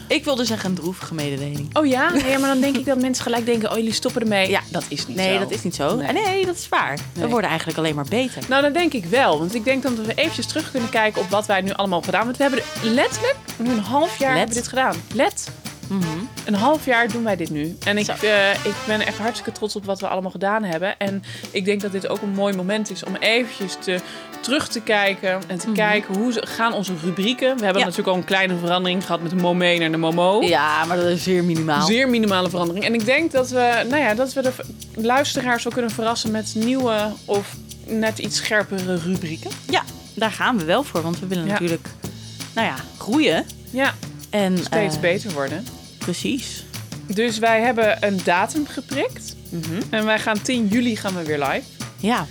[SPEAKER 3] Ik wilde zeggen een droevige mededeling.
[SPEAKER 4] Oh ja? Nee, maar dan denk ik dat mensen gelijk denken, oh jullie stoppen ermee. Ja, dat is niet
[SPEAKER 3] Nee,
[SPEAKER 4] zo.
[SPEAKER 3] dat is niet zo.
[SPEAKER 4] Nee.
[SPEAKER 3] Nee, nee dat is waar. We
[SPEAKER 4] Nee.
[SPEAKER 3] worden eigenlijk alleen maar beter.
[SPEAKER 4] Nou, dat denk ik wel. Want ik denk dat we eventjes terug kunnen kijken op wat wij nu allemaal hebben gedaan. Want we hebben er letterlijk nu een half jaar
[SPEAKER 3] Let. Mhm.
[SPEAKER 4] hebben we dit gedaan. Let. Een half jaar doen wij dit nu. En ik, eh, ik ben echt hartstikke trots op wat we allemaal gedaan hebben. En ik denk dat dit ook een mooi moment is om eventjes te, terug te kijken. En te kijken hoe ze, gaan onze rubrieken. We hebben
[SPEAKER 3] Mhm. Ja.
[SPEAKER 4] natuurlijk al een kleine verandering gehad met de Momé naar de Momo.
[SPEAKER 3] Ja, maar dat is zeer minimaal.
[SPEAKER 4] Zeer minimale verandering. En ik denk dat we, nou ja, dat we de v- luisteraars wel kunnen verrassen met nieuwe of net iets scherpere rubrieken.
[SPEAKER 3] Ja, daar gaan we wel voor. Want we willen
[SPEAKER 4] Ja.
[SPEAKER 3] natuurlijk, nou ja, groeien.
[SPEAKER 4] Ja,
[SPEAKER 3] En,
[SPEAKER 4] steeds
[SPEAKER 3] eh,
[SPEAKER 4] beter worden.
[SPEAKER 3] Precies.
[SPEAKER 4] Dus wij hebben een datum geprikt.
[SPEAKER 3] Mhm.
[SPEAKER 4] En wij gaan 10 juli gaan we weer live.
[SPEAKER 3] Ja,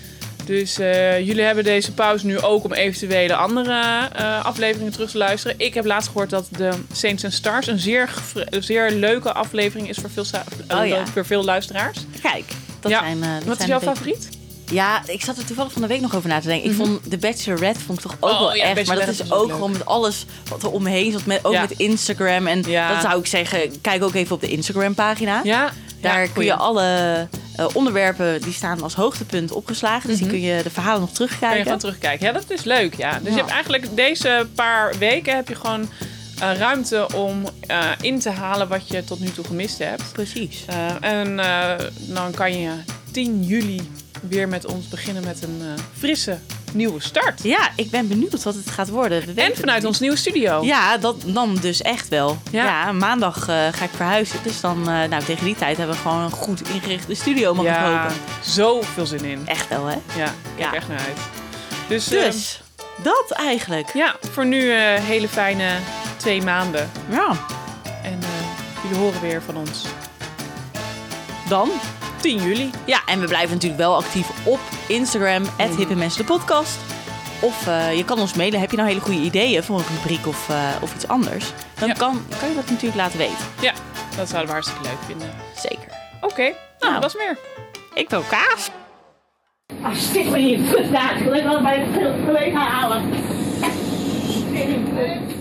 [SPEAKER 4] Dus eh, jullie hebben deze pauze nu ook om eventuele andere eh, afleveringen terug te luisteren. Ik heb laatst gehoord dat de Saints and Stars een zeer, gevre- een zeer leuke aflevering is voor veel, sa- eh,
[SPEAKER 3] Oh ja.
[SPEAKER 4] voor veel luisteraars.
[SPEAKER 3] kijk. Dat
[SPEAKER 4] Ja.
[SPEAKER 3] zijn, eh, dat
[SPEAKER 4] Wat is
[SPEAKER 3] zijn
[SPEAKER 4] jouw
[SPEAKER 3] de be-
[SPEAKER 4] favoriet?
[SPEAKER 3] Ja, ik zat er toevallig van de week nog over na te denken. Ik vond The Bachelorette vond ik toch ook
[SPEAKER 4] Mhm. Oh,
[SPEAKER 3] wel
[SPEAKER 4] ja,
[SPEAKER 3] echt. Maar dat
[SPEAKER 4] Bachelorette
[SPEAKER 3] is
[SPEAKER 4] was ook
[SPEAKER 3] ook
[SPEAKER 4] leuk.
[SPEAKER 3] gewoon met alles wat er omheen zat. Met, ook
[SPEAKER 4] Ja.
[SPEAKER 3] met Instagram. En
[SPEAKER 4] Ja.
[SPEAKER 3] dat zou ik zeggen, kijk ook even op de Instagram pagina.
[SPEAKER 4] Ja,
[SPEAKER 3] Daar
[SPEAKER 4] ja,
[SPEAKER 3] kun je
[SPEAKER 4] goeie.
[SPEAKER 3] alle eh, onderwerpen die staan als hoogtepunt opgeslagen. Dus die kun je de verhalen nog
[SPEAKER 4] Kun Mhm. je
[SPEAKER 3] terugkijken.
[SPEAKER 4] gewoon terugkijken. Ja, dat is leuk, ja. Dus
[SPEAKER 3] Ja.
[SPEAKER 4] je hebt eigenlijk deze paar weken heb je gewoon eh, ruimte om eh, in te halen wat je tot nu toe gemist hebt.
[SPEAKER 3] Precies.
[SPEAKER 4] Eh, en eh, dan kan je 10 juli weer met ons beginnen met een eh, frisse nieuwe start.
[SPEAKER 3] Ja, ik ben benieuwd wat het gaat worden. We weten
[SPEAKER 4] En
[SPEAKER 3] het
[SPEAKER 4] vanuit
[SPEAKER 3] niet.
[SPEAKER 4] ons nieuwe studio.
[SPEAKER 3] Ja, dat nam dus echt wel. Ja,
[SPEAKER 4] Ja.
[SPEAKER 3] maandag eh, ga ik verhuizen. Dus dan, eh, nou, tegen die tijd hebben we gewoon een goed ingerichte studio, mag ik
[SPEAKER 4] ja
[SPEAKER 3] hopen.
[SPEAKER 4] zoveel zin in.
[SPEAKER 3] Echt wel, hè?
[SPEAKER 4] Ja, ik kijk
[SPEAKER 3] Ja.
[SPEAKER 4] echt naar uit. Dus, eh,
[SPEAKER 3] Dus, dat eigenlijk.
[SPEAKER 4] ja, voor nu eh, hele fijne twee maanden.
[SPEAKER 3] Ja,
[SPEAKER 4] En eh, jullie horen weer van ons.
[SPEAKER 3] dan.
[SPEAKER 4] 10 juli.
[SPEAKER 3] Ja, en we blijven natuurlijk wel actief op Instagram, at Hippe Mensen de Podcast. Of eh, je kan ons mailen. Heb je nou hele goede ideeën voor een rubriek of, eh, of iets anders? Dan
[SPEAKER 4] Ja.
[SPEAKER 3] kan, kan je dat natuurlijk laten weten.
[SPEAKER 4] Ja, dat zouden we hartstikke leuk vinden.
[SPEAKER 3] Zeker.
[SPEAKER 4] Oké, nou, dat was meer.
[SPEAKER 3] Ik wil kaas.
[SPEAKER 5] Hartstikke niet. Goed, daar. Ik wil bij de collega halen.